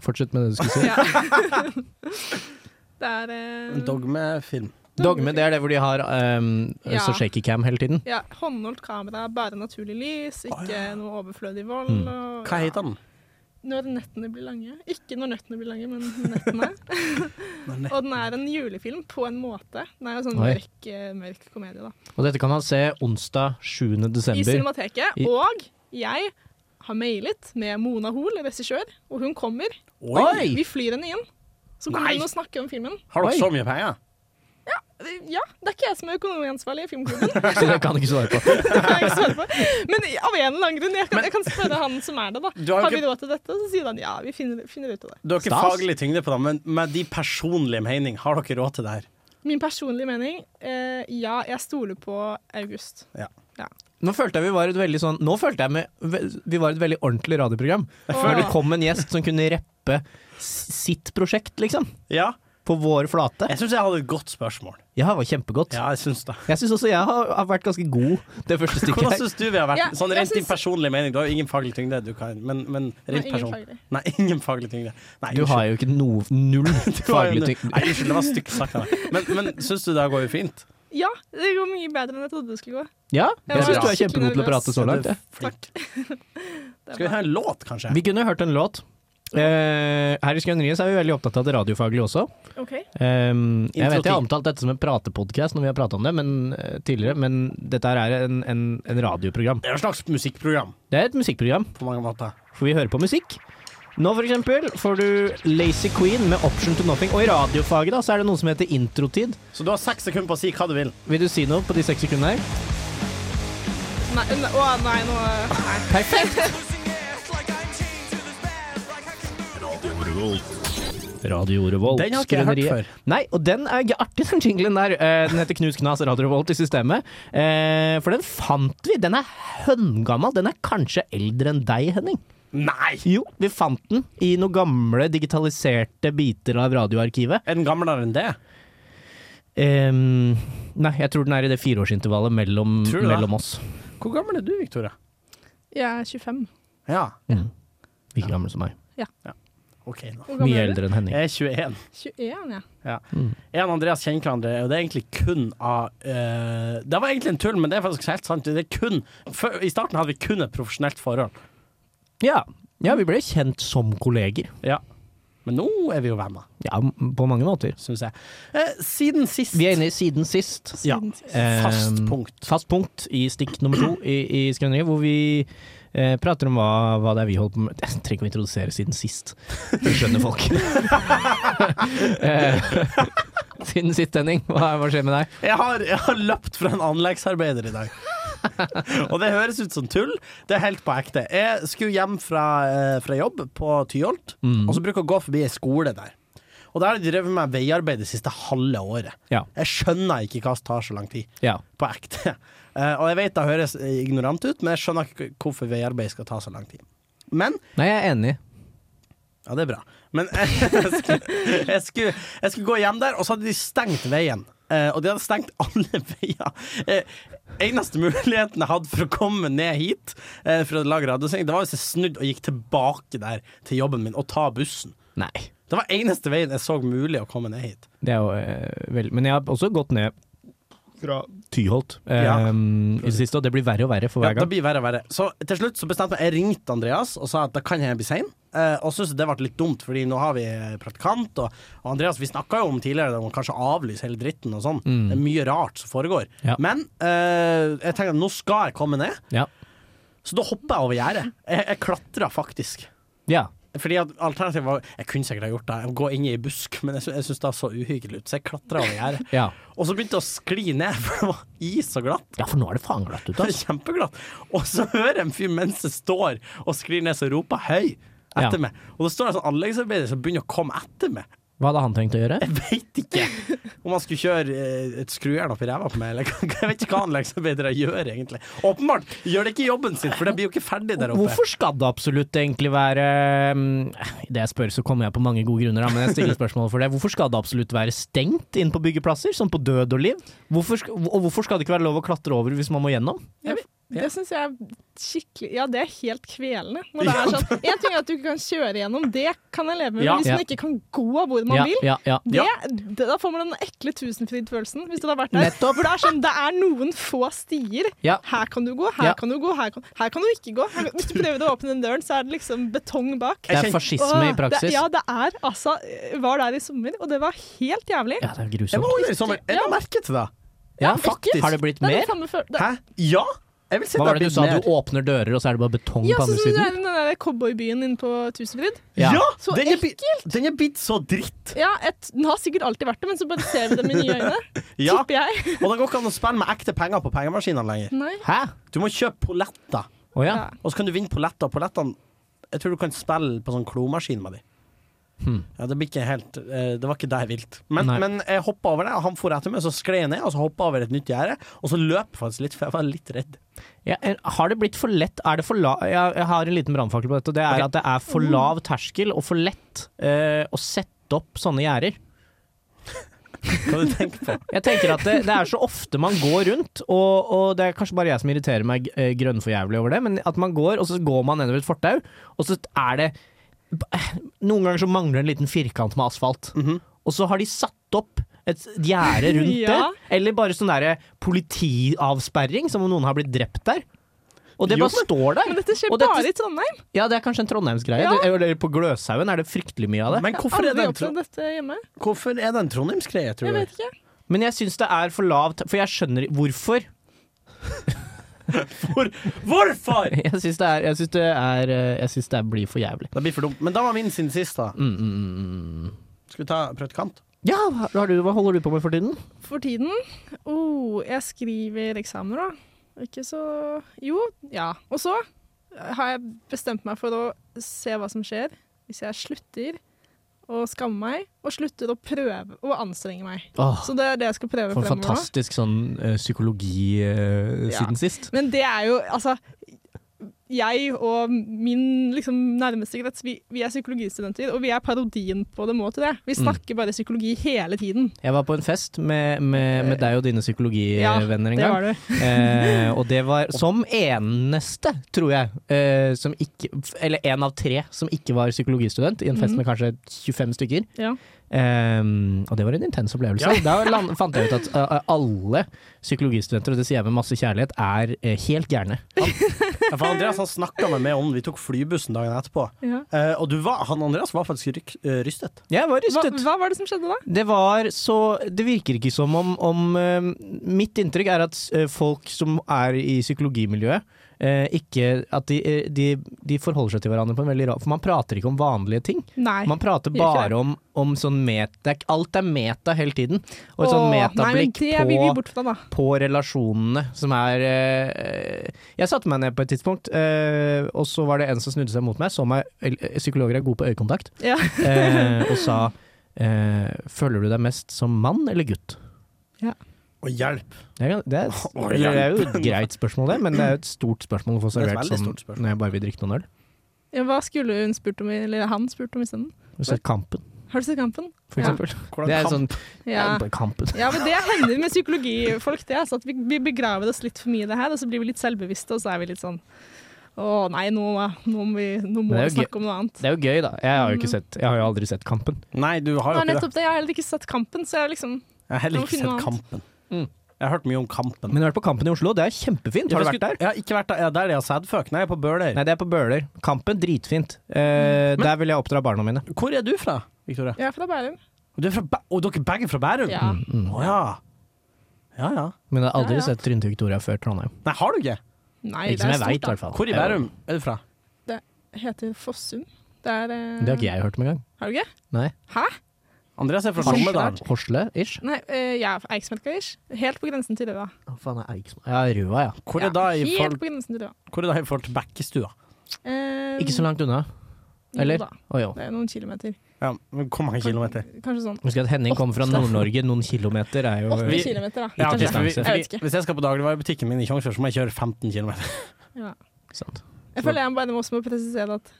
Speaker 3: Fortsett med det du skulle si.
Speaker 4: Ja. det er eh,
Speaker 5: En dogmefilm.
Speaker 3: Dogme, det er det hvor de har ehm,
Speaker 4: Ja.
Speaker 3: så shaky cam hele tiden.
Speaker 4: ja, håndholdt kamera, bare naturlig lys, ikke noe overflødig vold.
Speaker 3: Mm.
Speaker 4: Og,
Speaker 5: Hva heter den?
Speaker 4: Når nettene blir lange. Ikke når nettene blir lange, men nettene. og den er en julefilm på en måte. Den er jo sånn
Speaker 3: Oi.
Speaker 4: mørk, eh, mørk komedie, da.
Speaker 3: Og dette kan man se onsdag 7.
Speaker 4: I
Speaker 3: desember.
Speaker 4: Cinemateket.
Speaker 3: I-
Speaker 4: Og jeg har mailet med Mona Hoel, regissør, og hun kommer.
Speaker 3: Oi!
Speaker 4: Vi flyr henne inn. Så kommer
Speaker 5: Nei.
Speaker 4: hun og snakker om filmen.
Speaker 5: Har
Speaker 3: Oi.
Speaker 5: dere så mye penger?
Speaker 4: Ja, det er ikke jeg som er økonomiansvarlig i filmklubben.
Speaker 3: Så det kan jeg ikke svare på.
Speaker 4: Det kan jeg ikke svare på. Men av en eller annen grunn. Jeg kan, jeg kan spørre han som er det, da.
Speaker 5: Du har jo
Speaker 4: Har vi
Speaker 5: ikke-
Speaker 4: råd til dette? Så sier han ja, vi finner, finner ut av det.
Speaker 5: Du har ikke
Speaker 3: Stas.
Speaker 5: faglig tyngde på det, men med de personlige mening, har dere råd til det her?
Speaker 4: Min personlige mening eh, ja, jeg stoler på August.
Speaker 3: Nå følte jeg vi var et veldig sånn Nå følte jeg med, ve- vi var et veldig ordentlig radioprogram. Før det kom en gjest som kunne reppe s- sitt prosjekt, liksom.
Speaker 5: Ja,
Speaker 3: På vår flate.
Speaker 5: jeg syns jeg hadde et godt spørsmål.
Speaker 3: Ja, det var kjempegodt.
Speaker 5: Ja, jeg synes det.
Speaker 3: Jeg syns også jeg har, har vært ganske god det første stykket.
Speaker 5: Hvordan
Speaker 3: her.
Speaker 5: syns du vi har vært?
Speaker 4: Ja,
Speaker 5: sånn
Speaker 4: jeg
Speaker 5: rent din
Speaker 4: synes-
Speaker 5: personlige mening, du har jo ingen faglig tyngde, du kan, men, men
Speaker 4: Nei,
Speaker 5: rent
Speaker 4: ingen
Speaker 5: person.
Speaker 4: faglig.
Speaker 5: Nei, ingen faglig tyngde. Nei,
Speaker 3: Du har jo ikke noe null
Speaker 5: Du har jo-
Speaker 3: faglig tyngde.
Speaker 5: Nei, unnskyld, det var stygt sagt av deg. Men, men syns du det her går jo fint?
Speaker 4: Ja, det går mye bedre enn jeg trodde det skulle gå.
Speaker 3: Ja, jeg syns du er
Speaker 5: var
Speaker 4: Jeg skikkelig
Speaker 3: kjempegod til å
Speaker 4: nervøs.
Speaker 3: prate så langt.
Speaker 5: Du er
Speaker 3: jeg.
Speaker 5: flink.
Speaker 4: Det er
Speaker 5: Skal vi
Speaker 4: bra.
Speaker 5: ha en låt, kanskje?
Speaker 3: Vi kunne hørt en låt. Eh, her i Skrøneriet så er vi veldig opptatt av det radiofaglige også.
Speaker 4: Ok.
Speaker 3: Ehm, jeg vet jeg har
Speaker 5: Introtik.
Speaker 3: omtalt dette som en pratepodkast når vi har prata om det men, eh, tidligere, men dette her er en, en, en radioprogram.
Speaker 5: Det er jo et slags musikkprogram
Speaker 3: Det er et musikkprogram,
Speaker 5: på mange måter.
Speaker 3: for vi hører på musikk. Nå for eksempel får du Lazy Queen med Option to Nothing. Og i radiofaget da, så er det noe som heter introtid.
Speaker 5: Så du har seks sekunder på å si hva du vil.
Speaker 3: Vil du si noe på de seks sekundene her?
Speaker 4: Nei, ne- å nei, nå eh, nei.
Speaker 3: Perfekt!
Speaker 2: Radio Revolt.
Speaker 5: Den har ikke jeg hørt
Speaker 2: Skrøneriet.
Speaker 5: før.
Speaker 3: Nei, og den er ikke artig, den jinglen der. Eh, Den heter Knus Knas Radio Revolt i systemet. Eh, For den fant vi. Den er høngammal. Den er kanskje eldre enn deg, Henning.
Speaker 5: Nei!
Speaker 3: Jo, vi fant den i noen gamle digitaliserte biter av radioarkivet.
Speaker 5: Er den gamlere enn det?
Speaker 3: Ehm, nei, jeg tror den er i det fireårsintervallet mellom,
Speaker 5: Tror du det?
Speaker 3: mellom oss.
Speaker 5: Hvor gammel er du, Victoria?
Speaker 4: Jeg er 25.
Speaker 5: Ja,
Speaker 3: Like gammel som meg.
Speaker 5: OK, da.
Speaker 4: Hvor
Speaker 3: Mye
Speaker 4: gammel er du?
Speaker 3: eldre enn Henning.
Speaker 5: Jeg er 21.
Speaker 4: 21, ja.
Speaker 5: Jeg og Andreas kjenner hverandre, og det er egentlig kun av eh, Det var egentlig en tull, men det er faktisk helt sant. Det er kun, før, I starten hadde vi kun et profesjonelt forhold,
Speaker 3: Ja. ja, vi ble kjent som kolleger.
Speaker 5: men nå er vi jo venner,
Speaker 3: Ja, m- på mange måter.
Speaker 5: syns jeg. Eh, siden sist
Speaker 3: Vi er inne i siden sist.
Speaker 4: Siden sist.
Speaker 3: Ehm,
Speaker 5: Fast punkt.
Speaker 3: Fast punkt i stikk nummer to i, i Skrøneriet, hvor vi eh, prater om hva, hva det er vi holder på med. Jeg trenger ikke å introdusere siden sist. Det skjønner folk. Eh, siden sist, Henning. Hva, hva skjer med deg?
Speaker 5: Jeg har, jeg har løpt fra en anleggsarbeider i dag. og det høres ut som tull. Det er helt på ekte. Jeg skulle hjem fra, eh, fra jobb på Tyholt,
Speaker 3: Mm.
Speaker 5: og så bruker jeg å gå forbi ei skole der. Og der har de drevet med veiarbeid det siste halve året.
Speaker 3: Ja.
Speaker 5: Jeg skjønner ikke hva som tar så lang tid.
Speaker 3: Ja.
Speaker 5: På ekte. Eh, og jeg vet det høres ignorant ut, men jeg skjønner ikke hvorfor veiarbeid skal ta så lang tid. Men
Speaker 3: Nei, jeg er enig.
Speaker 5: ja, det er bra. Men jeg skulle, jeg skulle, jeg skulle gå hjem der, og så hadde de stengt veien. Eh, og de hadde stengt alle veier. Eh, eneste muligheten jeg hadde for å komme ned hit, eh, for å lage radiosending, det var hvis jeg snudde og gikk tilbake der til jobben min og ta bussen.
Speaker 3: Nei.
Speaker 5: Det var eneste veien jeg så mulig å komme ned hit.
Speaker 3: Det er jo eh, vel Men jeg har også gått ned fra Tyholt eh,
Speaker 5: Ja.
Speaker 3: i det siste, og det blir verre og verre for
Speaker 5: Ja,
Speaker 3: hver
Speaker 5: det
Speaker 3: gang.
Speaker 5: blir verre og verre. Så til slutt så bestemte jeg Jeg ringte Andreas og sa at da kan jeg bli sein. Eh, og syntes det ble litt dumt, Fordi nå har vi praktikant. Og, og Andreas, vi snakka jo om tidligere om å kanskje avlyse hele dritten og sånn. Det er mye rart som foregår.
Speaker 3: Mm. Ja.
Speaker 5: Men eh, jeg tenkte at nå skal jeg komme ned,
Speaker 3: Ja.
Speaker 5: så da hopper jeg over gjerdet. Jeg, jeg klatra faktisk.
Speaker 3: ja.
Speaker 5: Fordi at alternativet var Jeg kunne sikkert ha gjort det, gå inn i ei busk, men jeg, sy- jeg syntes det så uhyggelig ut, så jeg klatra over gjerdet.
Speaker 3: Ja.
Speaker 5: Og så begynte det å skli ned, for det var is og glatt.
Speaker 3: ja, for nå er det faen glatt ute,
Speaker 5: Det
Speaker 3: altså.
Speaker 5: er kjempeglatt. Og så hører jeg en fyr mens jeg står og sklir ned, så roper høy etter
Speaker 3: Ja.
Speaker 5: meg. Og det står en sånn anleggsarbeider som begynner å komme etter meg.
Speaker 3: Hva hadde han tenkt å gjøre?
Speaker 5: Jeg veit ikke om han skulle kjøre eh, et skrujern oppi ræva på meg, eller hva- jeg vet ikke hva anleggsarbeidere gjør, egentlig. Åpenbart gjør det ikke jobben sin, for det blir jo ikke ferdig der oppe.
Speaker 3: Hvorfor skal det absolutt egentlig være mm, I det jeg spør, så kommer jeg på mange gode grunner, da, men jeg stiller spørsmål for det. Hvorfor skal det absolutt være stengt inn på byggeplasser, sånn på død og liv? Hvorfor, sk- og hvorfor skal det ikke være lov å klatre over hvis man må gjennom?
Speaker 4: Ja,
Speaker 5: Ja.
Speaker 4: det syns jeg er skikkelig Ja, det er helt kvelende. Når det er sånn En ting er at du ikke kan kjøre gjennom, det kan jeg leve med.
Speaker 5: Ja.
Speaker 4: Men hvis
Speaker 3: Ja.
Speaker 4: man ikke kan gå hvor man
Speaker 3: Ja,
Speaker 4: vil,
Speaker 3: ja, ja.
Speaker 4: det, det, da får man den ekle tusenfryd-følelsen. Hvis du har vært der.
Speaker 3: Nettopp.
Speaker 4: For det er sånn, det er noen få stier.
Speaker 3: Ja.
Speaker 4: Her kan du gå, her
Speaker 3: Ja.
Speaker 4: kan du gå, her kan, her kan du ikke gå. Her, hvis du prøver å åpne den døren, så er det liksom betong bak.
Speaker 3: Det
Speaker 5: Jeg
Speaker 3: er
Speaker 5: kjen-
Speaker 3: fascisme i
Speaker 4: Åh,
Speaker 3: praksis.
Speaker 4: Det, ja, det er altså Jeg var der i sommer, og det var helt jævlig.
Speaker 3: Ja, det er
Speaker 5: Jeg
Speaker 3: grusomt.
Speaker 5: var der i sommer. Jeg la merke til det.
Speaker 3: Ja,
Speaker 5: faktisk.
Speaker 3: Har det blitt
Speaker 4: Det er den
Speaker 3: mer?
Speaker 4: samme følelsen.
Speaker 5: Hæ? Ja! Jeg vil
Speaker 3: Hva
Speaker 5: si det
Speaker 3: var
Speaker 5: har
Speaker 3: det du
Speaker 5: blitt
Speaker 3: sa?
Speaker 5: mer.
Speaker 3: Du åpner dører, og så er det bare betong
Speaker 4: Ja,
Speaker 3: på
Speaker 4: sånn
Speaker 3: andre
Speaker 4: som den
Speaker 3: siden?
Speaker 4: der- den der cowboybyen inne på Tusenfryd.
Speaker 5: Ja!
Speaker 4: Så
Speaker 5: den, er blitt, den er blitt så dritt.
Speaker 4: Ja, et, Den har sikkert alltid vært det, men så bare ser vi dem i nye øyne.
Speaker 5: Ja.
Speaker 4: Tipper jeg.
Speaker 5: Og det går ikke an å spille med ekte penger på pengemaskinene lenger.
Speaker 4: Nei.
Speaker 3: Hæ?
Speaker 5: Du må kjøpe polletter.
Speaker 3: Å ja.
Speaker 4: Ja.
Speaker 5: Og så kan du vinne polletter. Pollettene Jeg tror du kan spille på sånn klomaskin med de. Ja, det, blir ikke helt, eh, det var ikke der vilt. Men,
Speaker 3: Nei.
Speaker 5: men jeg hoppa over det, og han for etter meg. Så skled jeg ned, og så hoppa over et nytt gjerde. Og så løp jeg faktisk litt, for jeg var litt redd.
Speaker 3: Ja, er- har det blitt for lett? Er det for la jeg, jeg har en liten brannfakkel på dette. og Det er
Speaker 5: Ok.
Speaker 3: at det er for lav terskel og for lett eh, å sette opp sånne gjerder.
Speaker 5: Hva du tenker på?
Speaker 3: Jeg tenker at det, det er så ofte man går rundt, og, og det er kanskje bare jeg som irriterer meg eh, grønnforjævlig over det, men at man går, og så går man nedover et fortau, og så er det Noen ganger så mangler en liten firkant med asfalt, og så har de satt opp et gjerde rundt
Speaker 4: Mhm. Ja.
Speaker 3: det, eller bare sånn derre politiavsperring, som om noen har blitt drept der. Og det
Speaker 5: Jo,
Speaker 3: bare står der.
Speaker 4: Men dette skjer
Speaker 3: Og dette-
Speaker 4: bare i Trondheim.
Speaker 3: Ja, det er kanskje en trondheimsgreie.
Speaker 4: Ja.
Speaker 3: Det- Eller på Gløshaugen er det fryktelig mye av det.
Speaker 5: Men hvorfor er
Speaker 4: Aldri
Speaker 5: det en, tro
Speaker 4: opplevd dette hjemme.
Speaker 5: hvorfor er det en Trondheimsgreie, tror
Speaker 4: Jeg
Speaker 5: du?
Speaker 4: vet ikke.
Speaker 3: Men jeg syns det er for lavt, for jeg skjønner hvorfor.
Speaker 5: Hvor, hvorfor?!
Speaker 3: Jeg syns det er Jeg syns det, er, eh, jeg synes det er- blir for jævlig.
Speaker 5: Det blir for dumt. Men da var min siden sist, da.
Speaker 3: Mm, mm, mm, mm.
Speaker 5: Skal vi ta praktikant?
Speaker 3: Ja, hva, har du, hva holder du på med for tiden?
Speaker 4: For tiden oh, Jeg skriver eksamener, da. Ikke så Jo, ja. Og så har jeg bestemt meg for å se hva som skjer hvis jeg slutter og skamme meg, og slutter å prøve å anstrenge meg.
Speaker 3: Åh,
Speaker 4: Så det er det jeg skal prøve
Speaker 3: for en
Speaker 4: fremover. nå.
Speaker 3: fantastisk sånn eh, psykologi eh,
Speaker 4: Ja.
Speaker 3: siden sist.
Speaker 4: Men det er jo, altså Jeg og min liksom, nærmeste krets, vi, vi er psykologistudenter, og vi er parodien på det må til det.
Speaker 3: Mm.
Speaker 4: Vi snakker bare psykologi hele tiden.
Speaker 3: Jeg var på en fest med, med, med deg og dine
Speaker 4: Ja,
Speaker 3: psykologivenner en
Speaker 4: Det
Speaker 3: gang.
Speaker 4: var det.
Speaker 3: Eh, og det var som eneste, tror jeg, eh, som ikke Eller en av tre som ikke var psykologistudent, i en fest med kanskje 25 stykker.
Speaker 4: Ja.
Speaker 3: Ehm, og det var en intens opplevelse. Da land, fant jeg ut at eh, alle psykologistudenter, og det sier jeg med masse kjærlighet, er eh, helt gærne.
Speaker 5: Ja, for Andreas han snakka med meg om det. Vi tok flybussen dagen etterpå.
Speaker 4: Ja.
Speaker 5: Eh, og du var, han Andreas var faktisk ryk, eh, rystet.
Speaker 3: Jeg var
Speaker 4: Hva,
Speaker 3: rystet.
Speaker 4: hva var det som skjedde da?
Speaker 3: Det var så Det virker ikke som om, om eh, Mitt inntrykk er at eh, folk som er i psykologimiljøet, eh, ikke At de, eh, de, de forholder seg til hverandre på en veldig rar For man prater ikke om vanlige ting.
Speaker 4: Nei.
Speaker 3: Man prater
Speaker 4: gjør ikke det.
Speaker 3: bare om, om sånn meta det er ikke- Alt er meta hele tiden. Og et sånn
Speaker 4: Åh,
Speaker 3: metablikk
Speaker 4: Nei, men det vil vi
Speaker 3: på,
Speaker 4: bort fra, da.
Speaker 3: på relasjonene som er eh, Jeg satte meg ned på et tidspunkt, eh, og så var det en som snudde seg mot meg, så meg eh, Psykologer er gode på øyekontakt.
Speaker 4: Ja.
Speaker 3: eh, og sa eh, Føler du deg mest som mann eller gutt?
Speaker 5: Og hjelp!
Speaker 3: Det er, det, er,
Speaker 5: Å,
Speaker 3: det er jo et greit spørsmål, det, men det er jo et stort spørsmål å få
Speaker 5: Det er et
Speaker 3: servert
Speaker 5: veldig
Speaker 3: sånn
Speaker 5: stort spørsmål.
Speaker 3: når jeg bare vil drikke noen øl.
Speaker 4: Ja, hva skulle hun spurt om, i- eller han spurt om isteden?
Speaker 3: Hvis det er Kampen,
Speaker 4: Har du sett Kampen?
Speaker 3: for
Speaker 4: Ja.
Speaker 3: eksempel.
Speaker 5: Hvordan
Speaker 3: Det er
Speaker 5: kan-
Speaker 3: sånn
Speaker 4: Ja.
Speaker 3: ja, Kampen.
Speaker 4: Ja, men Det hender med psykologifolk, det. Altså, at vi, vi begraver oss litt for mye i det her, og så blir vi litt selvbevisste, og så er vi litt sånn Å nei, nå, nå, må, vi, nå
Speaker 3: Men
Speaker 4: må vi
Speaker 3: det er jo
Speaker 4: snakke om noe annet.
Speaker 3: Det er jo gøy, da. Jeg har jo ikke sett Jeg har jo aldri sett Kampen.
Speaker 5: Nei, du har jo
Speaker 4: Nei,
Speaker 5: ikke det.
Speaker 4: nettopp det. Jeg har heller ikke sett Kampen, så jeg er liksom
Speaker 5: Jeg har heller
Speaker 4: Jeg må
Speaker 5: ikke
Speaker 4: finne
Speaker 5: sett
Speaker 4: noe
Speaker 5: Kampen.
Speaker 3: Mm.
Speaker 5: Jeg har hørt mye om Kampen.
Speaker 3: Men jeg har vært på Kampen i Oslo, det er kjempefint. Har du
Speaker 5: Jeg
Speaker 3: vært der?
Speaker 5: skulle- Jeg har ikke vært der. Ja, der de har sædføk. Nei, jeg er på Bøler.
Speaker 3: Nei, det er på Bøler. Kampen, dritfint. Eh, der vil jeg oppdra barna mine.
Speaker 5: Hvor er du fra, Victoria?
Speaker 4: Jeg er fra Bærum.
Speaker 5: Du er fra Bæ og dere er begge fra Bærum?
Speaker 4: Ja.
Speaker 5: Å ja. Ja ja.
Speaker 3: Mm, Men jeg har aldri
Speaker 4: Ja, ja.
Speaker 3: sett Trine til Victoria før Trondheim.
Speaker 5: Nei, har du ikke?
Speaker 4: Nei,
Speaker 3: Ikke
Speaker 4: det
Speaker 3: som
Speaker 4: er
Speaker 3: jeg
Speaker 4: stort,
Speaker 3: veit, i
Speaker 4: da.
Speaker 3: hvert fall.
Speaker 5: Hvor i Bærum er du fra?
Speaker 4: Heter Fossum. Det er eh,
Speaker 3: Det har ikke jeg hørt om engang.
Speaker 4: Har du ikke?
Speaker 3: Nei.
Speaker 4: Hæ?
Speaker 5: Andreas er fra
Speaker 4: Harstad.
Speaker 5: Holmedalen.
Speaker 3: Horsle-ish?
Speaker 4: Nei, eh, jeg er fra Eiksmelka-ish. Helt på grensen til Røa.
Speaker 3: Å, faen, er Eiksmo- Ja, Røa, ja.
Speaker 5: Hvor
Speaker 4: Ja,
Speaker 5: er da i
Speaker 4: Helt
Speaker 5: forhold,
Speaker 4: på grensen til Røa.
Speaker 5: hvor er da i forhold til Bekkestua?
Speaker 4: Eh,
Speaker 3: Ikke så langt unna. Eller?
Speaker 4: Jo da,
Speaker 3: Å jo.
Speaker 4: det er noen kilometer.
Speaker 5: Ja, men Hvor mange kilometer?
Speaker 4: Kanskje sånn
Speaker 3: Husk at Henning kommer fra Nord-Norge, noen kilometer er jo
Speaker 4: åtte
Speaker 5: Vi-
Speaker 4: kilometer, da.
Speaker 5: Ja, ok,
Speaker 4: Kanskje.
Speaker 5: for vi,
Speaker 3: distanse.
Speaker 4: Jeg vet
Speaker 5: fordi,
Speaker 4: ikke.
Speaker 5: hvis jeg skal på dagligvarebutikken min i Tjongsfjord, så må jeg kjøre 15 km.
Speaker 4: Ja.
Speaker 3: Sant.
Speaker 4: Jeg føler jeg bare også må presisere at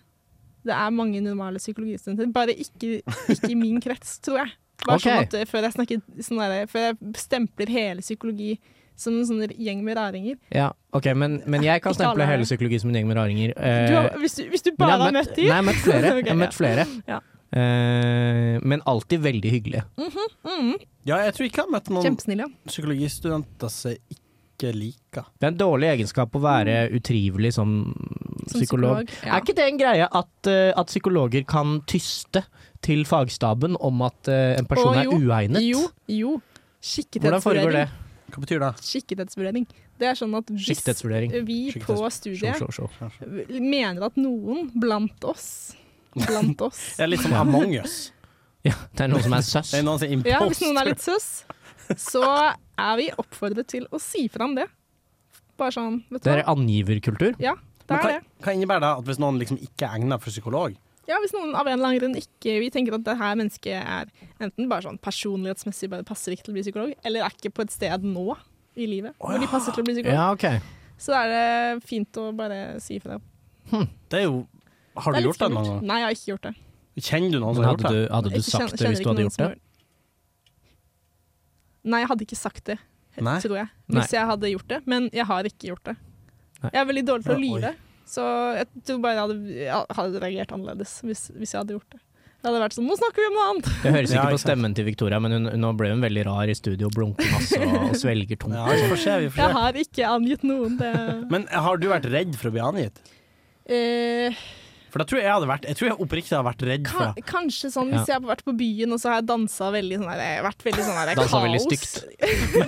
Speaker 4: det er mange normale psykologistudenter, bare ikke, ikke i min krets, tror jeg. Bare
Speaker 3: Ok.
Speaker 4: sånn at eh, før jeg, snakker, sånn der, før jeg stempler hele psykologi som en sånn gjeng med raringer.
Speaker 3: Ja, ok, men, men jeg kan
Speaker 4: Ikke alle
Speaker 3: stemple
Speaker 4: er
Speaker 3: hele
Speaker 4: det.
Speaker 3: psykologi som en gjeng med raringer.
Speaker 4: Du
Speaker 3: Eh,
Speaker 4: har, hvis, du, hvis du
Speaker 3: men
Speaker 4: bare
Speaker 3: jeg
Speaker 4: har møtt de
Speaker 3: Nei, jeg har møtt flere.
Speaker 4: Ok,
Speaker 3: Jeg har møtt flere.
Speaker 4: Ja.
Speaker 3: Eh, men alltid veldig hyggelige.
Speaker 5: Ja, jeg tror ikke jeg har møtt noen
Speaker 4: Mm, Kjempesnill, ja.
Speaker 5: psykologistudenter som ikke liker
Speaker 3: Det er en dårlig egenskap å være utrivelig som,
Speaker 4: Mm. Som
Speaker 3: psykolog.
Speaker 4: ja.
Speaker 3: Er ikke det en greie at, eh, at psykologer kan tyste til fagstaben om at eh, en person
Speaker 4: Å,
Speaker 3: er
Speaker 4: jo.
Speaker 3: uegnet?
Speaker 4: Jo, jo.
Speaker 3: Hvordan foregår det?
Speaker 4: Skikkethetsvurdering.
Speaker 5: Hva betyr det?
Speaker 4: Skikkethetsvurdering. Det er sånn at hvis
Speaker 3: Siktighetsvurdering.
Speaker 4: vi på
Speaker 5: Skikkethets-
Speaker 3: Sjå,
Speaker 4: studiet
Speaker 3: sjå, sjå.
Speaker 4: mener at noen blant oss Blant oss.
Speaker 5: Det er litt som Among us.
Speaker 3: Ja, det er noen som er søss.
Speaker 5: Det er noen som er
Speaker 4: Ja, hvis noen
Speaker 5: imposter.
Speaker 4: er litt søs, så er vi oppfordret til å si fra om det. Bare sånn, vet du
Speaker 3: Det er
Speaker 4: hva.
Speaker 3: angiverkultur.
Speaker 4: Ja, det
Speaker 5: Men
Speaker 4: er
Speaker 5: hva,
Speaker 4: det.
Speaker 5: hva innebærer det at hvis noen liksom ikke er egnet for psykolog?
Speaker 4: Ja, hvis noen av en eller annen grunn ikke Vi tenker at det her mennesket er enten bare sånn personlighetsmessig bare passer ikke til å bli psykolog, eller er ikke på et sted nå i livet hvor de passer til å bli psykolog.
Speaker 3: Ja, ok.
Speaker 4: Så er det fint å bare si fra.
Speaker 5: Det er jo Har
Speaker 4: Det
Speaker 5: du
Speaker 4: er litt
Speaker 5: gjort det noen
Speaker 4: skummelt.
Speaker 5: gang?
Speaker 4: Nei, jeg har ikke gjort det.
Speaker 5: Kjenner du noen som
Speaker 3: Men
Speaker 5: har
Speaker 3: hadde
Speaker 5: gjort
Speaker 3: du,
Speaker 5: det?
Speaker 3: hadde du
Speaker 4: Jeg kjenner-
Speaker 3: sagt det
Speaker 4: kjenner
Speaker 3: hvis
Speaker 4: ikke
Speaker 3: du hadde
Speaker 4: noen
Speaker 3: gjort
Speaker 4: som
Speaker 3: det?
Speaker 4: har- Nei, jeg hadde ikke sagt det,
Speaker 5: Nei?
Speaker 4: tror jeg.
Speaker 3: Nei.
Speaker 4: Hvis jeg hadde gjort det. Men jeg har ikke gjort det.
Speaker 3: Nei.
Speaker 4: Jeg er veldig dårlig til
Speaker 5: Ja,
Speaker 4: å
Speaker 5: oi.
Speaker 4: lyve, så jeg tror bare jeg hadde, jeg hadde reagert annerledes hvis, hvis jeg hadde gjort det. Det hadde vært sånn 'nå snakker vi om noe annet'.
Speaker 3: Det høres
Speaker 5: Ja,
Speaker 3: ikke
Speaker 5: ikke
Speaker 3: på
Speaker 5: sant.
Speaker 3: stemmen til Victoria, men hun, nå ble hun veldig rar i studio og blunker masse og, og svelger tungt.
Speaker 5: Ja, vi får se, vi får
Speaker 4: Jeg
Speaker 5: se.
Speaker 4: har ikke angitt noen. Det.
Speaker 5: Men har du vært redd for å bli angitt?
Speaker 4: Eh,
Speaker 5: For da tror jeg jeg hadde vært Jeg tror jeg oppriktig hadde vært redd for
Speaker 4: kan,
Speaker 5: det.
Speaker 4: kanskje sånn hvis jeg har vært på byen og så har jeg dansa veldig sånn her, jeg har vært veldig sånn her,
Speaker 3: Dansa
Speaker 4: kaos.
Speaker 3: veldig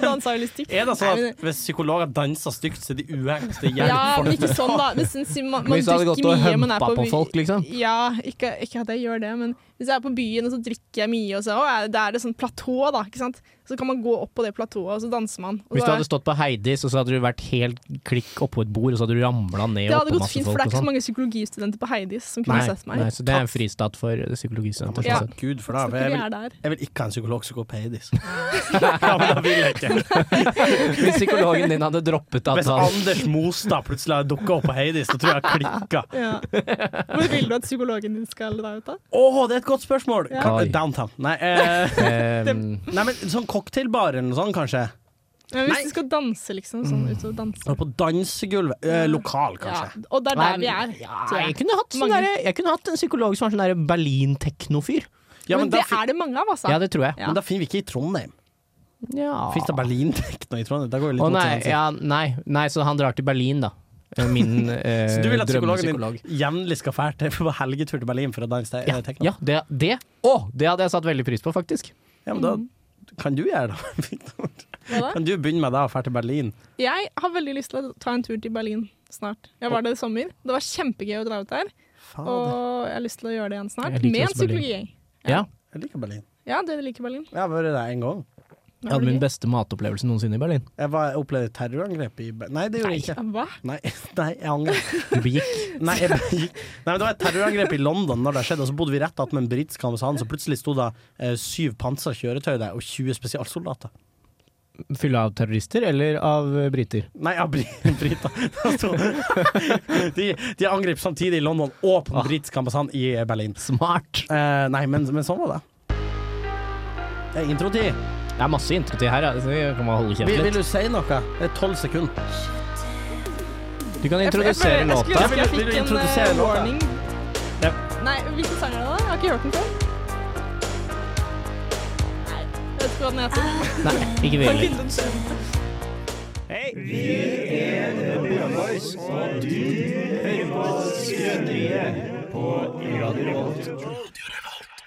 Speaker 4: dansa veldig stygt.
Speaker 5: Er det sånn
Speaker 4: Nei, men-
Speaker 5: at hvis psykologer danser stygt, så er de uegnet? Det
Speaker 4: ja,
Speaker 5: hjelper
Speaker 4: men
Speaker 5: folk?
Speaker 4: ikke sånn, da. Men since man, man
Speaker 3: Hvis du hadde
Speaker 4: drikker
Speaker 3: gått og
Speaker 4: mye, man er
Speaker 3: humpa
Speaker 4: på,
Speaker 3: på
Speaker 4: by-
Speaker 3: folk, liksom.
Speaker 4: Ja, ikke, ikke at jeg gjør det, men hvis jeg er på byen og så drikker jeg mye, og så å, er det, da er det sånn platå, da. Ikke sant? Så kan man gå opp på det platået, og så danser man. Og
Speaker 3: Hvis
Speaker 4: så
Speaker 3: du
Speaker 4: er-
Speaker 3: hadde stått på Heidis, og så hadde du vært helt klikk oppå et bord, og så hadde du ramla ned
Speaker 4: det
Speaker 3: og oppå
Speaker 4: hadde gått
Speaker 3: masse
Speaker 4: fint,
Speaker 3: folk
Speaker 4: for det er
Speaker 3: og
Speaker 4: ikke så
Speaker 3: sånn.
Speaker 4: mange psykologistudenter på Heidis. psykologis som kunne
Speaker 3: Nei,
Speaker 4: sett meg.
Speaker 3: nei, så det er en fristat for eh, psykologistudenter.
Speaker 4: Ja.
Speaker 3: sånn sett.
Speaker 5: Gud, for da jeg
Speaker 4: Så vi
Speaker 5: vil,
Speaker 4: er der.
Speaker 5: jeg vil ikke ha en psykolog som går pedis. ja, men da vil jeg ikke.
Speaker 3: Hvis psykologen din hadde droppet
Speaker 5: Hvis
Speaker 3: avtalen
Speaker 5: Anders Mostad plutselig hadde dukka opp på Heidis, da tror jeg jeg klikka.
Speaker 4: Ja. Hvor vil du at psykologen din skal deg ut, da?
Speaker 5: Å, det er et godt spørsmål!
Speaker 4: Ja.
Speaker 5: Ka- Downtown. Nei, eh,
Speaker 3: Ehm,
Speaker 5: nei, men sånn cocktailbar eller noe sånt, kanskje?
Speaker 4: Ja, hvis
Speaker 5: Nei.
Speaker 4: du skal danse, liksom. Sånn ut og danse.
Speaker 5: Og på dansegulvet. Eh, lokal,
Speaker 4: Ja.
Speaker 5: kanskje.
Speaker 4: Og det er der vi er.
Speaker 3: Ja,
Speaker 4: tror jeg.
Speaker 3: jeg, kunne hatt sånn
Speaker 4: Mange.
Speaker 3: derre- jeg kunne hatt en psykolog som var sånn derre Berlin-teknofyr.
Speaker 5: Ja,
Speaker 4: men,
Speaker 5: men,
Speaker 4: det
Speaker 5: da, fin-
Speaker 4: er det mange av, altså.
Speaker 3: Ja, det tror jeg.
Speaker 4: Ja.
Speaker 5: men da finner vi ikke i Trondheim.
Speaker 3: Ja.
Speaker 5: Fins det Berlintekno i Trondheim? Da går vi litt
Speaker 3: Å
Speaker 5: mot
Speaker 3: nei,
Speaker 5: hverandre.
Speaker 3: ja, nei, nei, så han drar til Berlin, da. Eh, Min eh,
Speaker 5: Så du vil at psykologen
Speaker 3: drømmepsykolog.
Speaker 5: din jevnlig skal fære til på helgetur til Berlin for å danse te-
Speaker 3: Ja,
Speaker 5: tekno?
Speaker 3: ja det, det. Å, det hadde jeg satt veldig pris på, faktisk.
Speaker 5: Ja, men da kan du gjøre det, Victor.
Speaker 4: Hva da?
Speaker 5: Kan du begynne med det og dra til Berlin?
Speaker 4: Jeg har veldig lyst til å ta en tur til Berlin snart. Jeg var der i sommer. Det var kjempegøy å dra ut der.
Speaker 5: Fader,
Speaker 4: Og jeg har lyst til å gjøre det igjen snart.
Speaker 3: Ah, Jeg liker
Speaker 4: Med en
Speaker 3: også Berlin.
Speaker 4: psykologigjeng.
Speaker 3: Ja.
Speaker 5: jeg liker Berlin.
Speaker 4: Ja, dere liker Berlin.
Speaker 5: Jeg har vært der én gang.
Speaker 4: Det
Speaker 3: Jeg hadde
Speaker 4: blir
Speaker 3: min
Speaker 4: gøy.
Speaker 3: beste matopplevelse noensinne i Berlin.
Speaker 5: Jeg, var, jeg opplevde terrorangrep i Ber- Nei, det gjorde jeg ikke.
Speaker 4: Hva?
Speaker 5: Nei, nei, jeg angrer.
Speaker 3: Begikk.
Speaker 5: Nei, jeg gikk. nei, men det var et terrorangrep i London når det skjedde, og så bodde vi rett attmed en britisk ambassade, så plutselig sto det eh, syv pansa kjøretøy der og 20 spesialsoldater.
Speaker 3: Fylla av terrorister eller av eh, briter?
Speaker 5: Nei, ja, bri- briter. Det sto- De, de angrep samtidig i London og på den britiske ambassaden i Berlin.
Speaker 3: Smart!
Speaker 5: Eh, nei, men, men sånn var det. Det er introtid.
Speaker 3: Det er masse introtid her, ja, så vi kan bare holde
Speaker 5: Vil,
Speaker 3: kjeft
Speaker 5: vil
Speaker 3: litt.
Speaker 5: du si noe? Det er tolv sekunder.
Speaker 3: Du kan introdusere
Speaker 4: jeg,
Speaker 3: låta.
Speaker 4: Jeg skulle
Speaker 5: Vil
Speaker 4: ønske
Speaker 5: du
Speaker 4: jeg fikk en
Speaker 5: introdusere
Speaker 4: eh,
Speaker 5: låta?
Speaker 4: warning.
Speaker 5: Ja.
Speaker 4: Nei, hvilken sang er det da? Jeg har ikke hørt den før. Nei, jeg vet ikke hva den heter.
Speaker 3: Nei, ikke
Speaker 4: Kan
Speaker 3: veldig.
Speaker 4: finne den selv.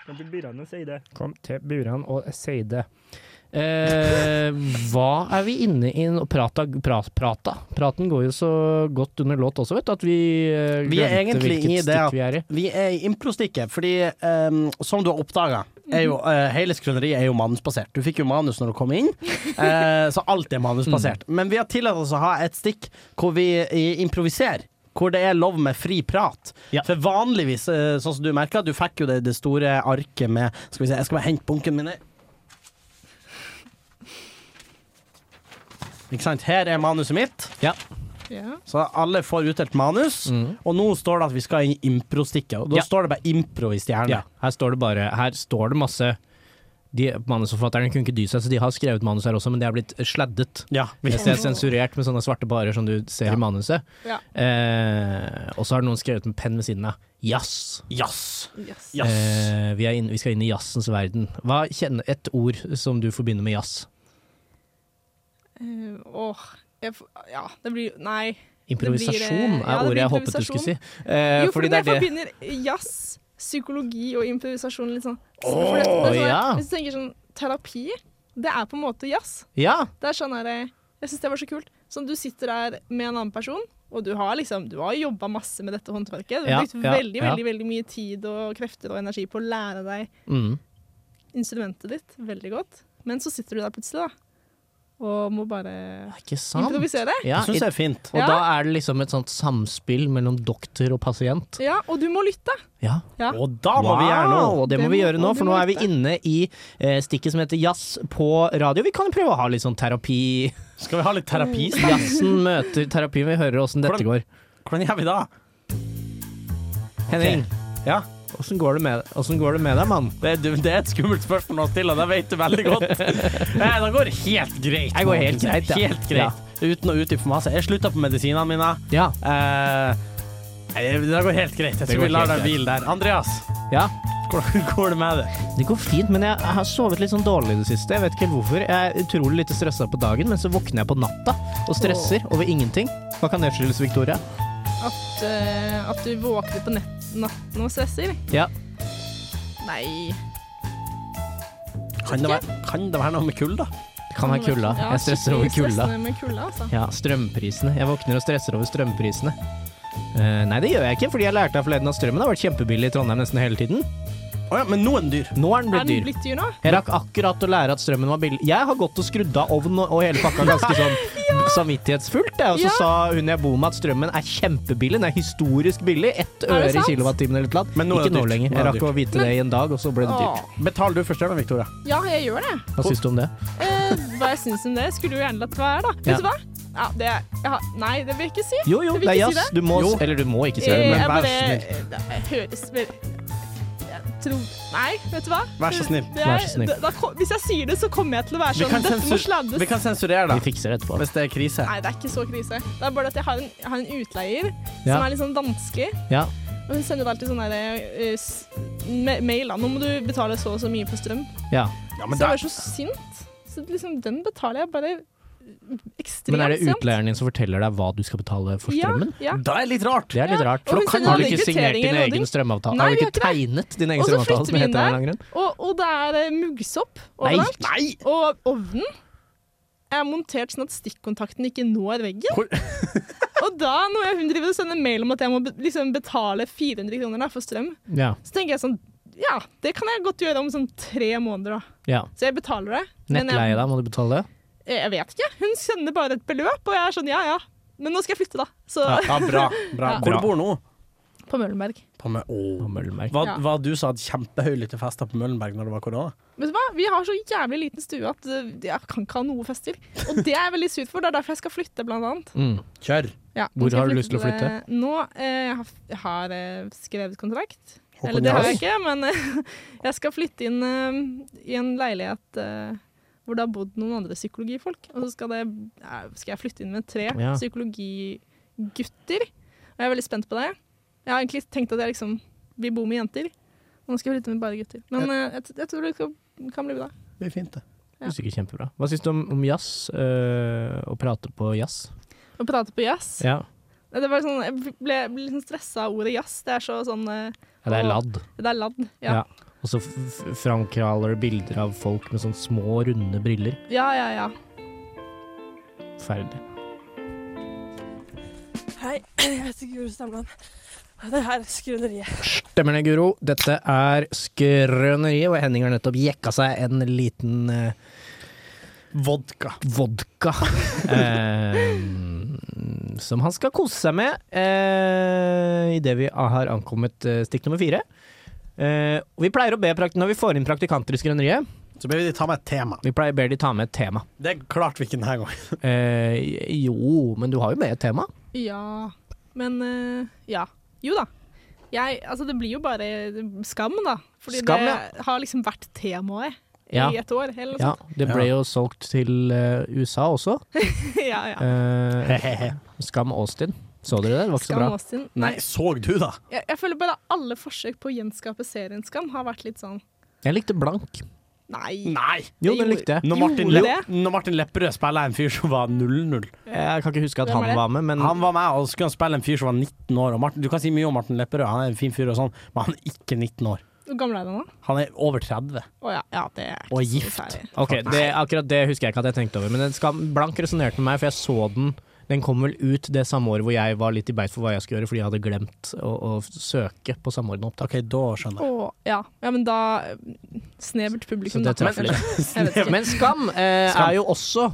Speaker 6: Kom til burene og si det. Kom til burene og si det.
Speaker 3: Eh, hva er vi inne i nå? Prata, pra, prata? Praten går jo så godt under låt også, vet du, at vi eh,
Speaker 5: Vi er
Speaker 3: glemte
Speaker 5: egentlig
Speaker 3: hvilket
Speaker 5: i det
Speaker 3: stikk
Speaker 5: at-
Speaker 3: vi er i.
Speaker 5: Vi er i improstikket, fordi ehm, som du har oppdaga er jo, eh, Hele skrøneriet er jo manusbasert. Du fikk jo manus når du kom inn, eh, så alt er manusbasert. Men vi har tillatt oss å ha et stikk hvor vi eh, improviserer. Hvor det er lov med fri prat.
Speaker 3: Ja.
Speaker 5: For vanligvis, eh, sånn som du merka, du fikk jo det, det store arket med Skal vi se, jeg skal bare hente bunken min her. Ikke sant. Her er manuset mitt.
Speaker 4: Ja.
Speaker 5: Så alle får utdelt manus, og nå står det at vi skal i improstikket. Og
Speaker 3: Mm.
Speaker 5: da
Speaker 3: Ja.
Speaker 5: står det bare impro i
Speaker 3: Ja,
Speaker 5: stjerna.
Speaker 3: her står det bare Her står det masse de, Manusforfatterne kunne ikke dy seg, så de har skrevet manus her også, men de er blitt sladdet.
Speaker 5: Ja. vi-
Speaker 3: Hvis det er sensurert med sånne svarte barer som du ser
Speaker 5: Ja.
Speaker 3: i manuset.
Speaker 4: Ja.
Speaker 3: Eh, og så har noen skrevet med penn ved siden av. Jazz.
Speaker 5: Jazz.
Speaker 4: Yes.
Speaker 5: Jazz.
Speaker 3: Eh, vi, er inn, vi skal inn i jazzens verden. Hva kjenner Et ord som du forbinder med jazz?
Speaker 4: Eh, Åh, jeg, f- ja, det blir Nei.
Speaker 3: Improvisasjon
Speaker 4: Det blir, eh, ja,
Speaker 3: er
Speaker 4: det
Speaker 3: ordet jeg
Speaker 4: blir
Speaker 3: håpet du skulle si.
Speaker 4: Jo,
Speaker 3: Eh,
Speaker 4: for
Speaker 3: fordi det
Speaker 4: jeg
Speaker 3: er det
Speaker 4: forbinder jazz, psykologi og improvisasjon litt sånn. For det- det er sånn
Speaker 3: ja.
Speaker 4: Hvis du tenker sånn terapi, det er på en måte jazz.
Speaker 3: Ja!
Speaker 4: Det er sånn her, eh, Jeg syns det var så kult. Sånn, du sitter der med en annen person, og du har liksom Du har jobba masse med dette håndverket. Du har
Speaker 3: Ja,
Speaker 4: brukt
Speaker 3: ja,
Speaker 4: veldig,
Speaker 3: ja.
Speaker 4: veldig veldig mye tid og krefter og energi på å lære deg
Speaker 3: Mm.
Speaker 4: instrumentet ditt veldig godt, men så sitter du der plutselig, da, og må bare
Speaker 3: Ikke sant?
Speaker 4: improvisere.
Speaker 3: Ja,
Speaker 5: Jeg syns
Speaker 3: i-
Speaker 5: det er fint.
Speaker 3: og
Speaker 4: Ja.
Speaker 3: da er det liksom et sånt samspill mellom doktor og pasient.
Speaker 4: Ja, og du må lytte.
Speaker 3: Ja.
Speaker 4: Ja.
Speaker 5: Og da må vi gjøre noe.
Speaker 3: Wow, det må
Speaker 4: Det
Speaker 3: vi
Speaker 4: må-
Speaker 3: gjøre nå,
Speaker 4: og det
Speaker 3: for nå
Speaker 4: må
Speaker 3: er vi
Speaker 4: vi
Speaker 3: inne i eh, stikket som heter jazz på radio. Vi kan jo prøve å ha litt sånn terapi.
Speaker 5: Skal vi ha litt
Speaker 3: Mm.
Speaker 5: terapi?
Speaker 3: Jazzen møter terapien. Vi hører åssen dette går.
Speaker 5: Hvordan gjør vi da?
Speaker 3: Henning,
Speaker 5: Ja.
Speaker 3: åssen går, det med- hvordan går det med deg, mann?
Speaker 5: Det, er- det er et skummelt spørsmål å stille, det vet du veldig godt. Nei, det går helt greit.
Speaker 3: Det går helt greit, ja.
Speaker 5: Helt greit. Uten å utdype for masse. Jeg slutta på medisinene mine.
Speaker 3: Ja.
Speaker 5: Eh, nei, det det går helt greit. Jeg
Speaker 3: Det
Speaker 5: tror vi
Speaker 3: går
Speaker 5: lar
Speaker 3: helt
Speaker 5: deg hvile der. Andreas,
Speaker 3: ja.
Speaker 5: hvordan går det med deg?
Speaker 3: Det går fint, men jeg har sovet litt sånn dårlig i det siste. Jeg vet ikke helt hvorfor. Jeg er utrolig lite stressa på dagen, men så våkner jeg på natta og stresser over ingenting. Hva kan det skyldes, Victoria?
Speaker 4: At, eh, at du våkner på nett, natten og stresser.
Speaker 3: Ja.
Speaker 4: Nei.
Speaker 5: Kan det være, kan det være noe med kulda?
Speaker 3: Det kan være kulda.
Speaker 4: Ja,
Speaker 3: Jeg stresser over
Speaker 4: skikkelig
Speaker 3: kulda.
Speaker 4: stressende Med kulda altså.
Speaker 3: Ja, strømprisene. Jeg våkner og stresser over strømprisene. Eh, nei, det gjør jeg ikke, fordi jeg lærte av forleden at strømmen har vært kjempebillig i Trondheim nesten hele tiden.
Speaker 5: Å ja, men noen dyr.
Speaker 3: Nå er den
Speaker 4: Er
Speaker 3: blitt
Speaker 4: den
Speaker 3: dyr.
Speaker 4: blitt dyr nå?
Speaker 3: Jeg rakk akkurat å lære at strømmen var billig. Jeg har gått og skrudd av ovnen og hele pakka ganske sånn samvittighetsfullt, jeg. og så
Speaker 4: Ja.
Speaker 3: sa hun jeg bor med at strømmen er kjempebillig. Den er historisk billig. Ett
Speaker 4: det
Speaker 3: øre i
Speaker 4: sant?
Speaker 3: kilowattimen eller noe.
Speaker 5: Men nå er
Speaker 3: Ikke
Speaker 5: det
Speaker 3: nå
Speaker 5: dyrt.
Speaker 3: lenger.
Speaker 5: Nå er
Speaker 3: Jeg
Speaker 5: det
Speaker 3: rakk å vite det i en dag, og så ble det dyrt.
Speaker 4: Åh.
Speaker 5: Betaler du for strømmen, Victoria?
Speaker 4: Ja, jeg gjør det.
Speaker 3: Hva syns du om det?
Speaker 4: Eh, hva jeg syns om det, skulle jo gjerne latt være, da. Vet
Speaker 3: Ja.
Speaker 4: du hva? Ja, det, jeg har, nei, det vil jeg ikke si.
Speaker 3: Jo, jo,
Speaker 4: Du vil
Speaker 3: det er
Speaker 4: ikke si
Speaker 3: jazz. Du må
Speaker 5: Jo.
Speaker 3: Eller du må ikke si
Speaker 4: Eh,
Speaker 3: det, men
Speaker 4: jeg
Speaker 5: vær så
Speaker 4: bare- Det høres vel jeg tror, Nei, vet du hva?
Speaker 5: Vær så snill.
Speaker 4: Det er,
Speaker 3: Vær så snill.
Speaker 4: Da, da, kom- hvis jeg sier det, så kommer jeg til å være
Speaker 5: Vi
Speaker 4: sånn
Speaker 5: kan,
Speaker 4: Dette må
Speaker 5: sensur
Speaker 4: sladdes.
Speaker 5: vi kan sensurere
Speaker 3: vi
Speaker 5: det
Speaker 3: fikser det etterpå.
Speaker 5: hvis det er krise.
Speaker 4: Nei, det er ikke så krise. Det er bare at jeg har en, jeg har en utleier
Speaker 3: Ja.
Speaker 4: som er litt sånn vanskelig.
Speaker 3: Ja.
Speaker 4: Og hun sender alltid sånn derre mail da. 'Nå må du betale så og så mye for strøm'.
Speaker 3: ja.
Speaker 5: Ja,
Speaker 4: Så
Speaker 5: men
Speaker 4: jeg
Speaker 5: da,
Speaker 4: var så sint. Så liksom, den betaler jeg bare ekstremt
Speaker 3: Men er det
Speaker 4: sent.
Speaker 3: utleieren din som forteller deg hva du skal betale for strømmen?
Speaker 4: Ja, ja.
Speaker 5: da er det litt rart.
Speaker 3: Det er litt
Speaker 4: Ja,
Speaker 3: rart.
Speaker 4: og hun sender
Speaker 3: har du
Speaker 4: alle
Speaker 3: ikke signert din
Speaker 4: kvitteringer og
Speaker 3: egen
Speaker 4: ting.
Speaker 3: strømavtale?
Speaker 4: Nei,
Speaker 3: har du
Speaker 4: vi
Speaker 3: ikke
Speaker 4: gjør
Speaker 3: tegnet din egen
Speaker 4: Og så
Speaker 3: strømavtale,
Speaker 4: flytter
Speaker 3: som
Speaker 4: vi
Speaker 3: det
Speaker 4: inn
Speaker 3: heter av en
Speaker 4: der.
Speaker 3: eller annen grunn?
Speaker 4: Og, og det er eh, muggsopp
Speaker 3: Nei.
Speaker 4: overalt.
Speaker 5: Nei!
Speaker 4: Og ovnen er montert sånn at stikkontakten ikke når veggen.
Speaker 5: Hvor-
Speaker 4: og da, når jeg- hun driver og sender mail om at jeg må be- liksom betale 400 kroner da, for strøm,
Speaker 3: Ja.
Speaker 4: så tenker jeg sånn Ja, det kan jeg godt gjøre om sånn tre måneder, da.
Speaker 3: ja.
Speaker 4: Så jeg betaler det. Men
Speaker 3: Nettleie,
Speaker 4: jeg,
Speaker 3: da? Må du betale det?
Speaker 4: jeg vet ikke. Hun sender bare et beløp, og jeg er sånn ja ja. Men nå skal jeg flytte, da. Så
Speaker 5: Ja, ja, bra. bra.
Speaker 4: Ja.
Speaker 5: Hvor du bor nå?
Speaker 4: på Møllenberg.
Speaker 5: På Mø Åh.
Speaker 3: På Møllenberg.
Speaker 5: Hva,
Speaker 4: Ja.
Speaker 5: hva du sa at kjempehøylytte fester på Møllenberg når det var korona?
Speaker 4: Vet du hva? Vi har så jævlig liten stue at eh, jeg kan ikke ha noe fester. Og det er jeg veldig sur for. Det er derfor jeg skal flytte, blant annet.
Speaker 3: Mm.
Speaker 5: Kjør.
Speaker 4: Ja,
Speaker 3: Hvor
Speaker 4: nå skal
Speaker 3: har
Speaker 4: jeg
Speaker 3: du lyst til å flytte?
Speaker 4: Nå eh, jeg har, jeg har eh, skrevet kontrakt.
Speaker 5: Håkon
Speaker 4: Eller det har jeg
Speaker 5: Jaas.
Speaker 4: ikke, men eh, jeg skal flytte inn eh, i en leilighet eh, hvor det har bodd noen andre psykologifolk. Og så skal, det, eh, skal jeg flytte inn med tre
Speaker 3: Ja.
Speaker 4: psykologigutter. Og jeg er veldig spent på det. Jeg har egentlig tenkt at jeg liksom vil bo med jenter. Og nå skal jeg flytte med bare gutter. Men eh, jeg, jeg tror det skal, kan bli bra.
Speaker 5: Det blir fint, det.
Speaker 4: Ja.
Speaker 3: Det er sikkert kjempebra. Hva syns du om, om jazz? øh, å prate på jazz?
Speaker 4: Å prate på jazz
Speaker 3: Ja.
Speaker 4: Det var sånn, Jeg ble, ble litt sånn stressa av ordet jazz. Det er så sånn eh,
Speaker 3: ja, det er ladd.
Speaker 4: Det er ladd.
Speaker 3: Ja.
Speaker 4: Ja.
Speaker 3: Og så f- f- framkraler du bilder av folk med sånne små, runde briller.
Speaker 4: Ja, ja, ja.
Speaker 3: Ferdig.
Speaker 7: Hei, jeg heter Guro Stamland. Og det her er Skrøneriet.
Speaker 3: Stemmer det, Guro. Dette er Skrøneriet, og Henning har nettopp jekka seg en liten eh,
Speaker 5: Vodka.
Speaker 3: vodka. eh, som han skal kose seg med eh, idet vi har ankommet eh, stikk nummer fire. Eh, og vi pleier å be prakt når vi får inn praktikanter i Skrøneriet,
Speaker 5: Så ber vi de ta med et tema.
Speaker 3: vi pleier ber de ta med et tema.
Speaker 5: Det klarte vi ikke denne gangen.
Speaker 3: Eh, jo, men du har jo med et tema.
Speaker 4: Ja. Men eh, ja. Jo da. Jeg, altså det blir jo bare skam, da. Fordi
Speaker 3: Skam,
Speaker 4: det har liksom vært temaet
Speaker 3: Ja.
Speaker 4: i et år. Eller noe
Speaker 3: Ja, det ble jo solgt til eh, USA også.
Speaker 4: sånt. ja, ja.
Speaker 3: Eh, Skam Austin. Så dere det? Det var ikke så
Speaker 4: Skam
Speaker 3: bra.
Speaker 4: Austin.
Speaker 5: Nei, så du, da?
Speaker 4: Jeg, jeg føler bare alle forsøk på å gjenskape serien Skam har vært litt sånn
Speaker 3: Jeg likte blank.
Speaker 4: Nei.
Speaker 5: Nei!
Speaker 3: Jo,
Speaker 4: Det
Speaker 3: den
Speaker 4: gjorde-
Speaker 3: likte jeg.
Speaker 5: Når Martin,
Speaker 4: Gjorde
Speaker 5: Le
Speaker 4: det?
Speaker 5: når Martin Lepperød spiller en fyr som var 0-0
Speaker 3: Jeg kan ikke huske at
Speaker 4: Hvem er
Speaker 3: han
Speaker 4: det?
Speaker 3: var med, men
Speaker 5: Han var med og skulle han spille en fyr som var 19 år. Og Martin, du kan si mye om Martin Lepperød, han er en fin fyr, og sånn men han er ikke 19 år.
Speaker 4: Hvor gammel er du nå?
Speaker 5: Han er over 30
Speaker 4: Å ja. ja, det er ikke
Speaker 5: og er
Speaker 4: så
Speaker 5: gift.
Speaker 4: særlig.
Speaker 3: Ok, det, akkurat det husker jeg ikke at jeg tenkte over. Men den skam, Blank resonnerte med meg, for jeg så den. Den kom vel ut det samme året hvor jeg var litt i beit for hva jeg skulle gjøre, fordi jeg hadde glemt å, å søke på samordna opptak.
Speaker 5: OK, da skjønner jeg.
Speaker 4: Å, ja. ja, men da eh, Snevert
Speaker 3: Så
Speaker 4: publikum,
Speaker 3: det
Speaker 4: da.
Speaker 3: traff litt.
Speaker 4: Jeg vet ikke.
Speaker 3: Men Skam, eh,
Speaker 5: Skam.
Speaker 3: er jo også,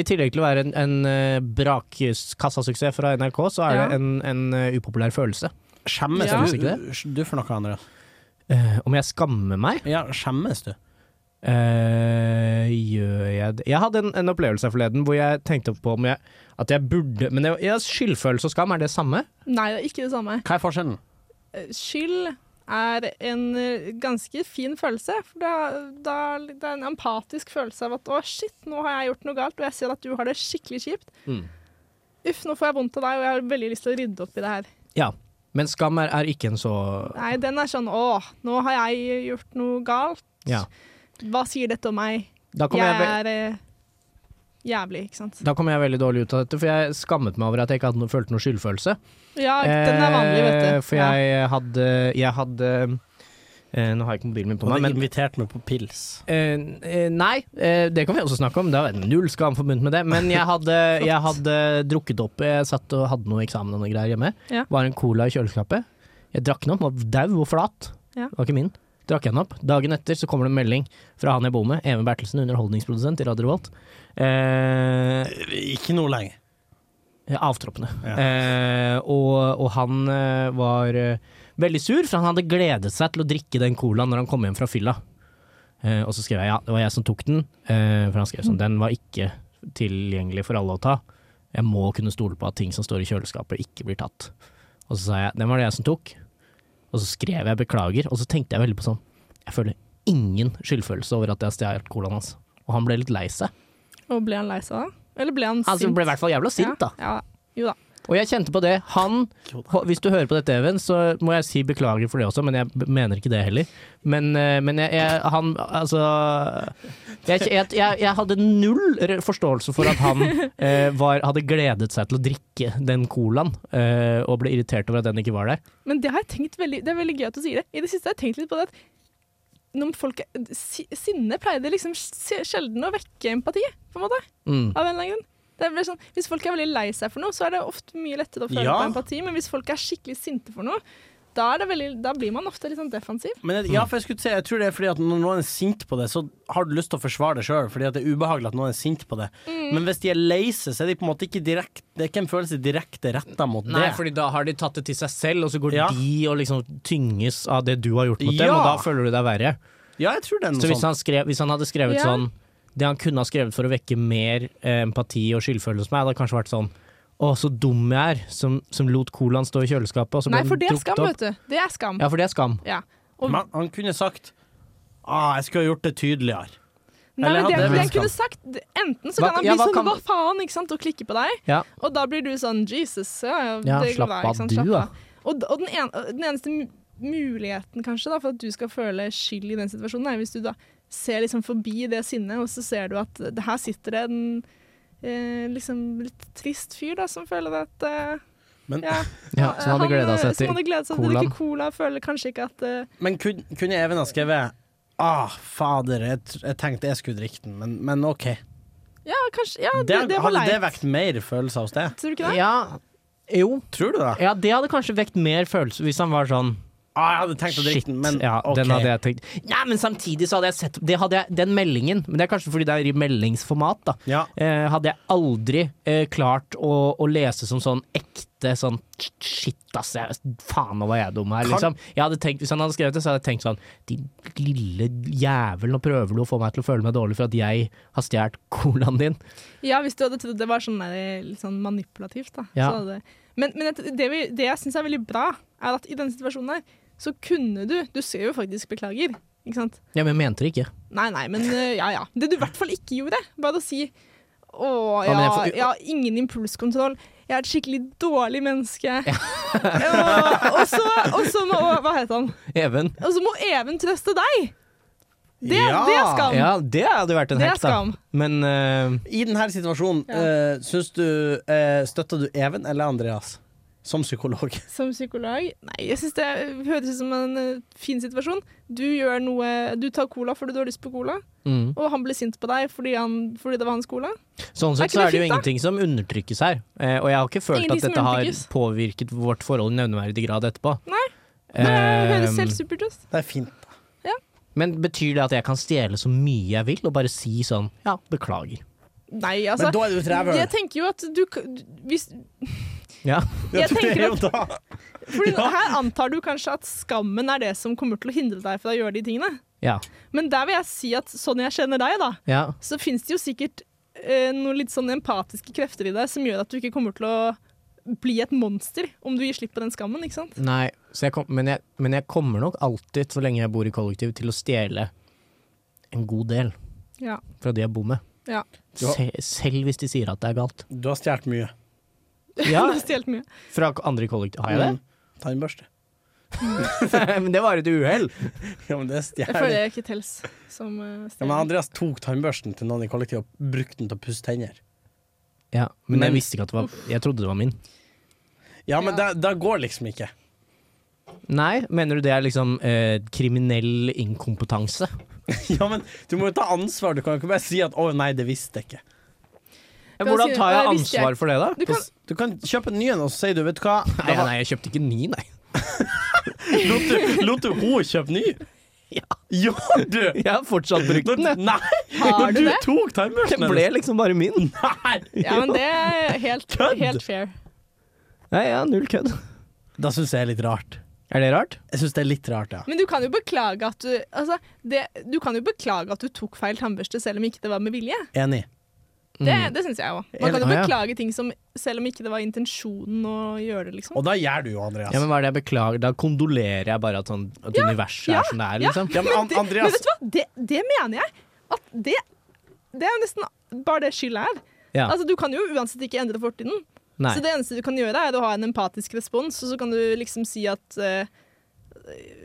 Speaker 3: i tillegg til å være en, en eh, brakassasuksess fra NRK, så er
Speaker 4: Ja.
Speaker 3: det en, en eh, upopulær følelse.
Speaker 5: Skjemmes
Speaker 4: Ja.
Speaker 5: du? Du for noe, Andreas?
Speaker 3: Eh, om jeg skammer meg?
Speaker 5: Ja, skjemmes du?
Speaker 3: Eh, gjør jeg det Jeg hadde en, en opplevelse her forleden hvor jeg tenkte på om jeg At jeg burde Men jeg, jeg, skyldfølelse og skam, er det samme?
Speaker 4: Nei, det er ikke det samme.
Speaker 5: Hva er forskjellen?
Speaker 4: Eh, Skyld er en eh, ganske fin følelse. For det er, det er, det er en empatisk følelse av at å, shit, nå har jeg gjort noe galt, og jeg ser at du har det skikkelig kjipt.
Speaker 3: Mm.
Speaker 4: Uff, nå får jeg vondt av deg, og jeg har veldig lyst til å rydde opp i det her.
Speaker 3: Ja. Men skam er, er ikke en så
Speaker 4: Nei, den er sånn å, nå har jeg gjort noe galt.
Speaker 3: Ja.
Speaker 4: Hva sier dette om meg?
Speaker 3: Da kommer jeg,
Speaker 4: Jeg
Speaker 3: ve-
Speaker 4: er eh, jævlig, ikke sant.
Speaker 3: da kom jeg veldig dårlig ut av dette, for jeg skammet meg over at jeg ikke hadde noe, følte noe skyldfølelse.
Speaker 4: Ja, den er vanlig, vet
Speaker 3: Eh,
Speaker 4: du.
Speaker 3: For jeg hadde Jeg hadde eh, Nå har jeg ikke mobilen min på
Speaker 5: Du
Speaker 3: meg,
Speaker 5: hadde
Speaker 3: men
Speaker 5: invitert meg på pils.
Speaker 3: Eh, eh, nei, eh, det kan vi også snakke om. Det er null skam forbundet med det. Men jeg hadde, jeg hadde drukket opp. Jeg satt og hadde noe eksamen og noe greier hjemme.
Speaker 4: Ja.
Speaker 3: Var en cola i kjøleskapet. Jeg drakk den opp, den var dau og flat.
Speaker 4: Ja.
Speaker 3: Det var ikke min. Drakk jeg den opp. Dagen etter så kommer det en melding fra han jeg bor med, Even Bertelsen, underholdningsprodusent i Radio Revolt. Eh,
Speaker 5: Ikke noe lenger.
Speaker 3: ja, Avtroppene.
Speaker 5: Ja.
Speaker 3: Eh, og, og han eh, var eh, veldig sur, for han hadde gledet seg til å drikke den colaen når han kom hjem fra fylla. Eh, og så skrev jeg ja, det var jeg som tok den, eh, for han skrev sånn den var ikke tilgjengelig for alle å ta. Jeg må kunne stole på at ting som står i kjøleskapet ikke blir tatt. Og så sa jeg den var det jeg som tok. Og så skrev jeg beklager, og så tenkte jeg veldig på sånn Jeg føler ingen skyldfølelse over at jeg har stjålet colaen hans. Og han ble litt lei seg.
Speaker 4: Og ble han lei seg da? Eller ble han sint?
Speaker 3: Altså, han ble i hvert fall jævla sint, da.
Speaker 4: Ja, ja. Jo da.
Speaker 3: Og jeg kjente på det. Han H- Hvis du hører på dette, Even, så må jeg si beklager for det også, men jeg b- mener ikke det heller. Men, eh, men jeg, jeg, han Altså jeg, jeg, jeg, jeg hadde null re- forståelse for at han eh, var, hadde gledet seg til å drikke den colaen, eh, og ble irritert over at den ikke var der.
Speaker 4: Men det har jeg tenkt veldig Det er veldig gøy at du sier det. I det siste har jeg tenkt litt på det at når folk er, si, Sinne pleide liksom sj- sjelden å vekke empati, på en måte.
Speaker 3: Mm.
Speaker 4: Av en eller annen grunn. Det blir sånn, hvis folk er veldig lei seg for noe, så er det ofte mye lettere å føle
Speaker 5: Ja.
Speaker 4: på empati. Men hvis folk er skikkelig sinte for noe, da, er det veldig, da blir man ofte litt sånn defensiv.
Speaker 5: Men jeg, ja, for jeg, skulle si, jeg tror det er fordi at når noen er sint på det, så har du lyst til å forsvare det sjøl, fordi at det er ubehagelig at noen er sint på det. Men hvis de er lei seg, så er de på en måte ikke direkte Det er ikke en følelse direkte retta mot
Speaker 3: Nei,
Speaker 5: det.
Speaker 3: fordi da har de tatt det til seg selv, og så går
Speaker 5: Ja.
Speaker 3: de og liksom tynges av det du har gjort mot dem,
Speaker 5: Ja.
Speaker 3: og da føler du deg verre.
Speaker 5: Ja, jeg tror det er
Speaker 3: Så
Speaker 5: noe
Speaker 3: hvis
Speaker 5: sånt.
Speaker 3: han, skrev, hvis han hadde skrevet
Speaker 4: Ja.
Speaker 3: sånn Det han kunne ha skrevet for å vekke mer eh, empati og skyldfølelse hos meg, hadde kanskje vært sånn Å, så dum jeg er som, som lot colaen stå i kjøleskapet, og så ble
Speaker 4: Nei,
Speaker 3: den
Speaker 4: for det er
Speaker 3: drukket
Speaker 4: skam,
Speaker 3: opp.
Speaker 4: vet du. Det er skam.
Speaker 3: Ja, for det er skam.
Speaker 4: Ja.
Speaker 5: Men han kunne sagt ah, jeg skulle ha gjort det tydeligere.
Speaker 4: Nei,
Speaker 5: Eller
Speaker 4: men det,
Speaker 5: hadde
Speaker 4: det jeg
Speaker 5: skam.
Speaker 4: kunne sagt Enten så
Speaker 3: Hva-
Speaker 4: kan han bli
Speaker 3: ja, hva
Speaker 4: sånn
Speaker 3: kan-
Speaker 4: 'hva faen', ikke sant, og klikke på deg.
Speaker 3: Ja.
Speaker 4: Og da blir du sånn 'Jesus, ja,
Speaker 3: Ja,
Speaker 4: det
Speaker 3: slapp
Speaker 4: går
Speaker 3: av
Speaker 4: bra'. ikke sant,
Speaker 3: du,
Speaker 4: slapp
Speaker 3: da.
Speaker 4: av. Og, d- og den, en, og den eneste mu- muligheten kanskje da, for at du skal føle skyld i den situasjonen, er hvis du da ser liksom forbi det sinnet, og så ser du at det her sitter det en eh, liksom litt trist fyr da, som føler at eh,
Speaker 5: Men-
Speaker 4: ja,
Speaker 3: Ja,
Speaker 4: eh,
Speaker 3: som hadde
Speaker 4: han,
Speaker 3: gleda
Speaker 4: eh,
Speaker 3: seg
Speaker 4: Som
Speaker 3: til
Speaker 4: hadde gledet seg til å drikke cola, føler kanskje ikke at eh,
Speaker 5: Men kun, kunne Even ha skrevet Ah, fader, jeg, tr- jeg tenkte jeg skulle drikke den, men, men OK.
Speaker 4: Ja, kanskje Ja, det,
Speaker 5: Det,
Speaker 4: det var
Speaker 5: hadde det
Speaker 4: leit.
Speaker 5: vekt mer følelser hos deg?
Speaker 4: Tror du ikke det?
Speaker 3: Ja. Jo.
Speaker 5: Tror du det?
Speaker 3: Ja, det hadde kanskje vekt mer følelse hvis han var sånn
Speaker 5: Ah, jeg hadde tenkt å drikke
Speaker 3: Shit.
Speaker 5: den, men
Speaker 3: ja,
Speaker 5: OK.
Speaker 3: Den hadde jeg tenkt. Nei, men samtidig så hadde jeg sett det hadde jeg, Den meldingen, men det er kanskje fordi det er i meldingsformat, da.
Speaker 5: Ja.
Speaker 3: eh, hadde jeg aldri eh, klart å, å lese som sånn ekte sånn Shit, ass, jeg, faen nå var jeg dum her,
Speaker 5: Kan-
Speaker 3: liksom. Jeg hadde tenkt, hvis han hadde skrevet det, så hadde jeg tenkt sånn Din lille jævel, nå prøver du å få meg til å føle meg dårlig for at jeg har stjålet colaen din.
Speaker 4: Ja, hvis du hadde trodd det var sånn, der, litt sånn manipulativt, da.
Speaker 3: Ja.
Speaker 4: Så hadde, men men jeg t- det, vi, det jeg syns er veldig bra, er at i denne situasjonen her, så kunne du Du skrev jo faktisk 'beklager', ikke sant?
Speaker 3: Ja, men jeg mente det ikke.
Speaker 4: Nei, nei, men øh, ja, ja. Det du i hvert fall ikke gjorde, var å si å,
Speaker 3: Ja,
Speaker 4: ja,
Speaker 3: men jeg
Speaker 4: ja,
Speaker 3: får-
Speaker 4: ingen impulskontroll. Jeg er et skikkelig dårlig menneske. og, og så, og så må Hva het han?
Speaker 3: Even.
Speaker 4: Og så må Even trøste deg! Det, det er skam.
Speaker 3: Ja, det hadde vært en
Speaker 4: Det er
Speaker 3: hekk, da.
Speaker 4: skam.
Speaker 3: Men eh,
Speaker 5: I denne situasjonen, eh, syns du eh, Støtter du Even eller Andreas som psykolog?
Speaker 4: Som psykolog Nei, jeg syns det høres ut som en øh, fin situasjon. Du gjør noe Du tar cola fordi du har lyst på cola,
Speaker 3: mm.
Speaker 4: og han ble sint på deg fordi, han, fordi det var hans cola.
Speaker 3: Sånn
Speaker 4: Er
Speaker 3: sett
Speaker 4: ikke
Speaker 3: så
Speaker 4: det
Speaker 3: er det jo
Speaker 4: fint, da?
Speaker 3: ingenting som undertrykkes her. Eh, og jeg har ikke følt
Speaker 4: Ingenting
Speaker 3: at
Speaker 4: som
Speaker 3: dette har
Speaker 4: undertrykkes.
Speaker 3: påvirket vårt forhold i nevneverdig grad etterpå. Nei.
Speaker 4: Det
Speaker 5: Eh,
Speaker 4: høres helt supert ut.
Speaker 5: Det er fint.
Speaker 3: Men betyr det at jeg kan stjele så mye jeg vil, og bare si sånn ja, beklager?
Speaker 4: Nei, altså.
Speaker 5: men da er du et rævhøl.
Speaker 4: Jeg tenker jo at du, k- du hvis,
Speaker 3: Ja.
Speaker 4: Jeg
Speaker 5: Det er
Speaker 4: tenker
Speaker 5: jo
Speaker 4: at
Speaker 5: da.
Speaker 4: Fordi Her antar du kanskje at skammen er det som kommer til å hindre deg fra å gjøre de tingene.
Speaker 3: Ja.
Speaker 4: Men der vil jeg si at sånn jeg kjenner deg, da,
Speaker 3: ja.
Speaker 4: så fins det jo sikkert eh, noen litt sånn empatiske krefter i deg som gjør at du ikke kommer til å bli et monster om du gir slipp på den skammen, ikke sant?
Speaker 3: Nei. Så jeg kom, men, jeg, men jeg kommer nok alltid, så lenge jeg bor i kollektiv, til å stjele en god del
Speaker 4: Ja.
Speaker 3: fra de jeg bor med.
Speaker 4: Ja.
Speaker 5: Ja.
Speaker 3: Se, selv hvis de sier at det er galt.
Speaker 5: Du har stjålet mye.
Speaker 3: Ja,
Speaker 4: Du har stjålet mye.
Speaker 3: Fra andre i kollektiv. Har jeg det?
Speaker 5: Mm. Tannbørste.
Speaker 3: men det var et uhell.
Speaker 5: Ja, men det er
Speaker 4: Jeg
Speaker 5: stjålet.
Speaker 4: føler jeg ikke tels som uh,
Speaker 5: Ja, men Andreas tok tannbørsten til noen i kollektivet og brukte den til å pusse tenner.
Speaker 3: Ja, men,
Speaker 5: Men-
Speaker 3: jeg visste ikke at det var Jeg trodde det var min.
Speaker 5: Ja, men det, det går liksom ikke.
Speaker 3: Nei, mener du det er liksom eh, kriminell inkompetanse?
Speaker 5: Ja, men Du må jo ta ansvar. Du kan jo ikke bare si at 'å nei, det visste jeg ikke'.
Speaker 4: Kan
Speaker 3: Hvordan
Speaker 4: jeg si-
Speaker 3: tar jeg
Speaker 4: Nei, jeg visste
Speaker 3: ansvar for det, da?
Speaker 4: Du kan,
Speaker 5: Du kan kjøpe en ny en, og så sier du 'vet du hva',
Speaker 3: Nei, nei, jeg kjøpte ikke ny, nei.
Speaker 5: lot du, lot du henne kjøpe ny? Gjorde du?
Speaker 3: Jeg har fortsatt brukt den,
Speaker 5: Når,
Speaker 3: jeg.
Speaker 5: nei!
Speaker 4: Har
Speaker 5: Når
Speaker 4: du
Speaker 5: du
Speaker 4: det?
Speaker 5: tok timeouten
Speaker 3: Den ble liksom bare min.
Speaker 5: Nei!
Speaker 4: Ja, men det er helt,
Speaker 5: Kødd!
Speaker 4: helt fair.
Speaker 3: Nei, ja, null kødd.
Speaker 5: Da syns jeg er litt rart.
Speaker 3: Er det rart?
Speaker 5: Jeg syns det er litt rart, ja.
Speaker 4: Men du kan jo beklage at du altså, det, Du kan jo beklage at du tok feil tannbørste selv om ikke det var med vilje.
Speaker 5: Enig.
Speaker 4: Det,
Speaker 5: Mm.
Speaker 4: det syns jeg òg. Man kan jo
Speaker 3: Ah, ja.
Speaker 4: beklage ting som selv om ikke det var intensjonen å gjøre det, liksom.
Speaker 5: Og da gjør du jo, Andreas.
Speaker 3: Ja, men hva er det jeg beklager? Da kondolerer jeg bare at, sånn, at universet
Speaker 4: ja,
Speaker 3: er som det er,
Speaker 4: ja.
Speaker 3: liksom.
Speaker 5: Ja, men An-
Speaker 4: Men
Speaker 5: Andreas
Speaker 4: vet du hva, det, det mener jeg. At det, det er jo nesten bare det skylda er.
Speaker 3: Ja.
Speaker 4: Altså, du kan jo uansett ikke endre fortiden.
Speaker 3: Nei.
Speaker 4: Så det eneste du kan gjøre, er å ha en empatisk respons, og så kan du liksom si at eh,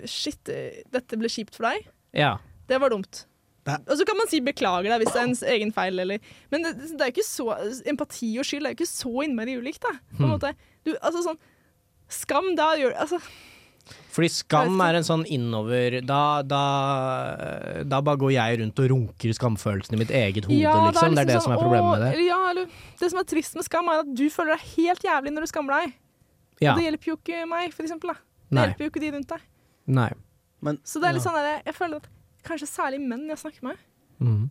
Speaker 4: Shit, eh, dette ble kjipt for deg.
Speaker 3: Ja.
Speaker 4: Det var dumt.
Speaker 5: Nei.
Speaker 4: Og så kan man si beklager deg hvis det er ens egen feil, eller Men det, det er jo ikke så Empati og skyld er jo ikke så innmari ulikt, da. På
Speaker 3: Hmm.
Speaker 4: en måte. Du, altså sånn Skam, da gjør Altså,
Speaker 3: Fordi
Speaker 4: Jeg
Speaker 3: skam
Speaker 4: vet ikke.
Speaker 3: er en sånn innover Da, da, da bare går jeg rundt og runker skamfølelsen i mitt eget hode,
Speaker 4: Ja,
Speaker 3: liksom. Det er det
Speaker 4: liksom
Speaker 3: som er
Speaker 4: sånn,
Speaker 3: problemet
Speaker 4: «Åh»,
Speaker 3: med det.
Speaker 4: eller Ja, eller, det som er trist med skam, er at du føler deg helt jævlig når du skammer deg.
Speaker 3: Ja.
Speaker 4: Og det hjelper jo ikke meg, for eksempel. Da. Det
Speaker 3: Nei.
Speaker 4: hjelper jo ikke de rundt deg.
Speaker 3: Nei.
Speaker 5: men,
Speaker 4: Så det er litt
Speaker 5: ja.
Speaker 4: sånn der, jeg føler at kanskje særlig menn jeg snakker med,
Speaker 3: Mhm.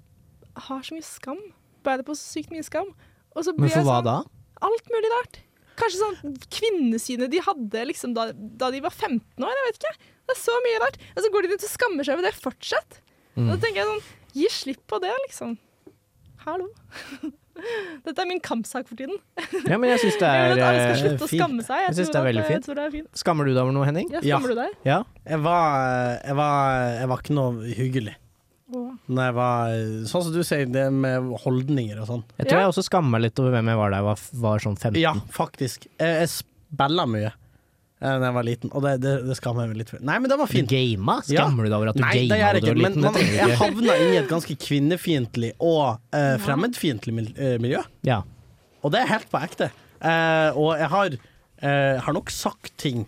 Speaker 4: har så mye skam. Bærer på så sykt mye skam. Og så
Speaker 3: Men
Speaker 4: blir
Speaker 3: for
Speaker 4: jeg
Speaker 3: hva
Speaker 4: sånn
Speaker 3: da?
Speaker 4: Alt mulig rart. Kanskje sånn kvinnesynet de hadde liksom da, da de var 15 år, jeg vet ikke. Det er så mye rart. Og så går de rundt og skammer seg over det fortsatt. Og
Speaker 3: Mm.
Speaker 4: da tenker jeg sånn, gi slipp på det, liksom. Hallo. Dette er min kampsak for tiden.
Speaker 3: Ja, men jeg syns det
Speaker 4: Jeg
Speaker 3: er
Speaker 4: vil at alle skal
Speaker 3: eh,
Speaker 4: slutte å skamme seg.
Speaker 3: Jeg synes
Speaker 4: tror
Speaker 3: det er
Speaker 4: at- eh,
Speaker 3: veldig
Speaker 4: jeg
Speaker 3: fint.
Speaker 4: tror det er fint.
Speaker 3: Skammer du deg over noe, Henning?
Speaker 4: Ja,
Speaker 5: Ja.
Speaker 4: skammer du deg?
Speaker 3: Ja.
Speaker 5: jeg, var, jeg, var, jeg var ikke noe hyggelig.
Speaker 4: Åh.
Speaker 5: Når jeg var Sånn som du sier, det med holdninger og sånn.
Speaker 3: Jeg tror
Speaker 4: Ja.
Speaker 3: jeg også skammer meg litt over hvem jeg var da jeg var, var sånn 15.
Speaker 5: Ja, faktisk. Jeg, jeg spilla mye eh, da jeg var liten, og det, det, det skammer jeg meg litt for. Nei, men det var
Speaker 3: Du
Speaker 5: fint.
Speaker 3: gama?
Speaker 5: Ja.
Speaker 3: Skammer du deg over at du
Speaker 5: Nei,
Speaker 3: gama
Speaker 5: det
Speaker 3: da
Speaker 5: gjør jeg
Speaker 3: du var
Speaker 5: ikke,
Speaker 3: liten?
Speaker 5: men
Speaker 3: Det
Speaker 5: man,
Speaker 3: trenger
Speaker 5: jeg
Speaker 3: du ikke.
Speaker 5: havna inn i et ganske kvinnefiendtlig og uh, fremmedfiendtlig mil- eh, miljø,
Speaker 3: Ja.
Speaker 5: og det er helt på ekte. Eh, og jeg har, eh, har nok sagt ting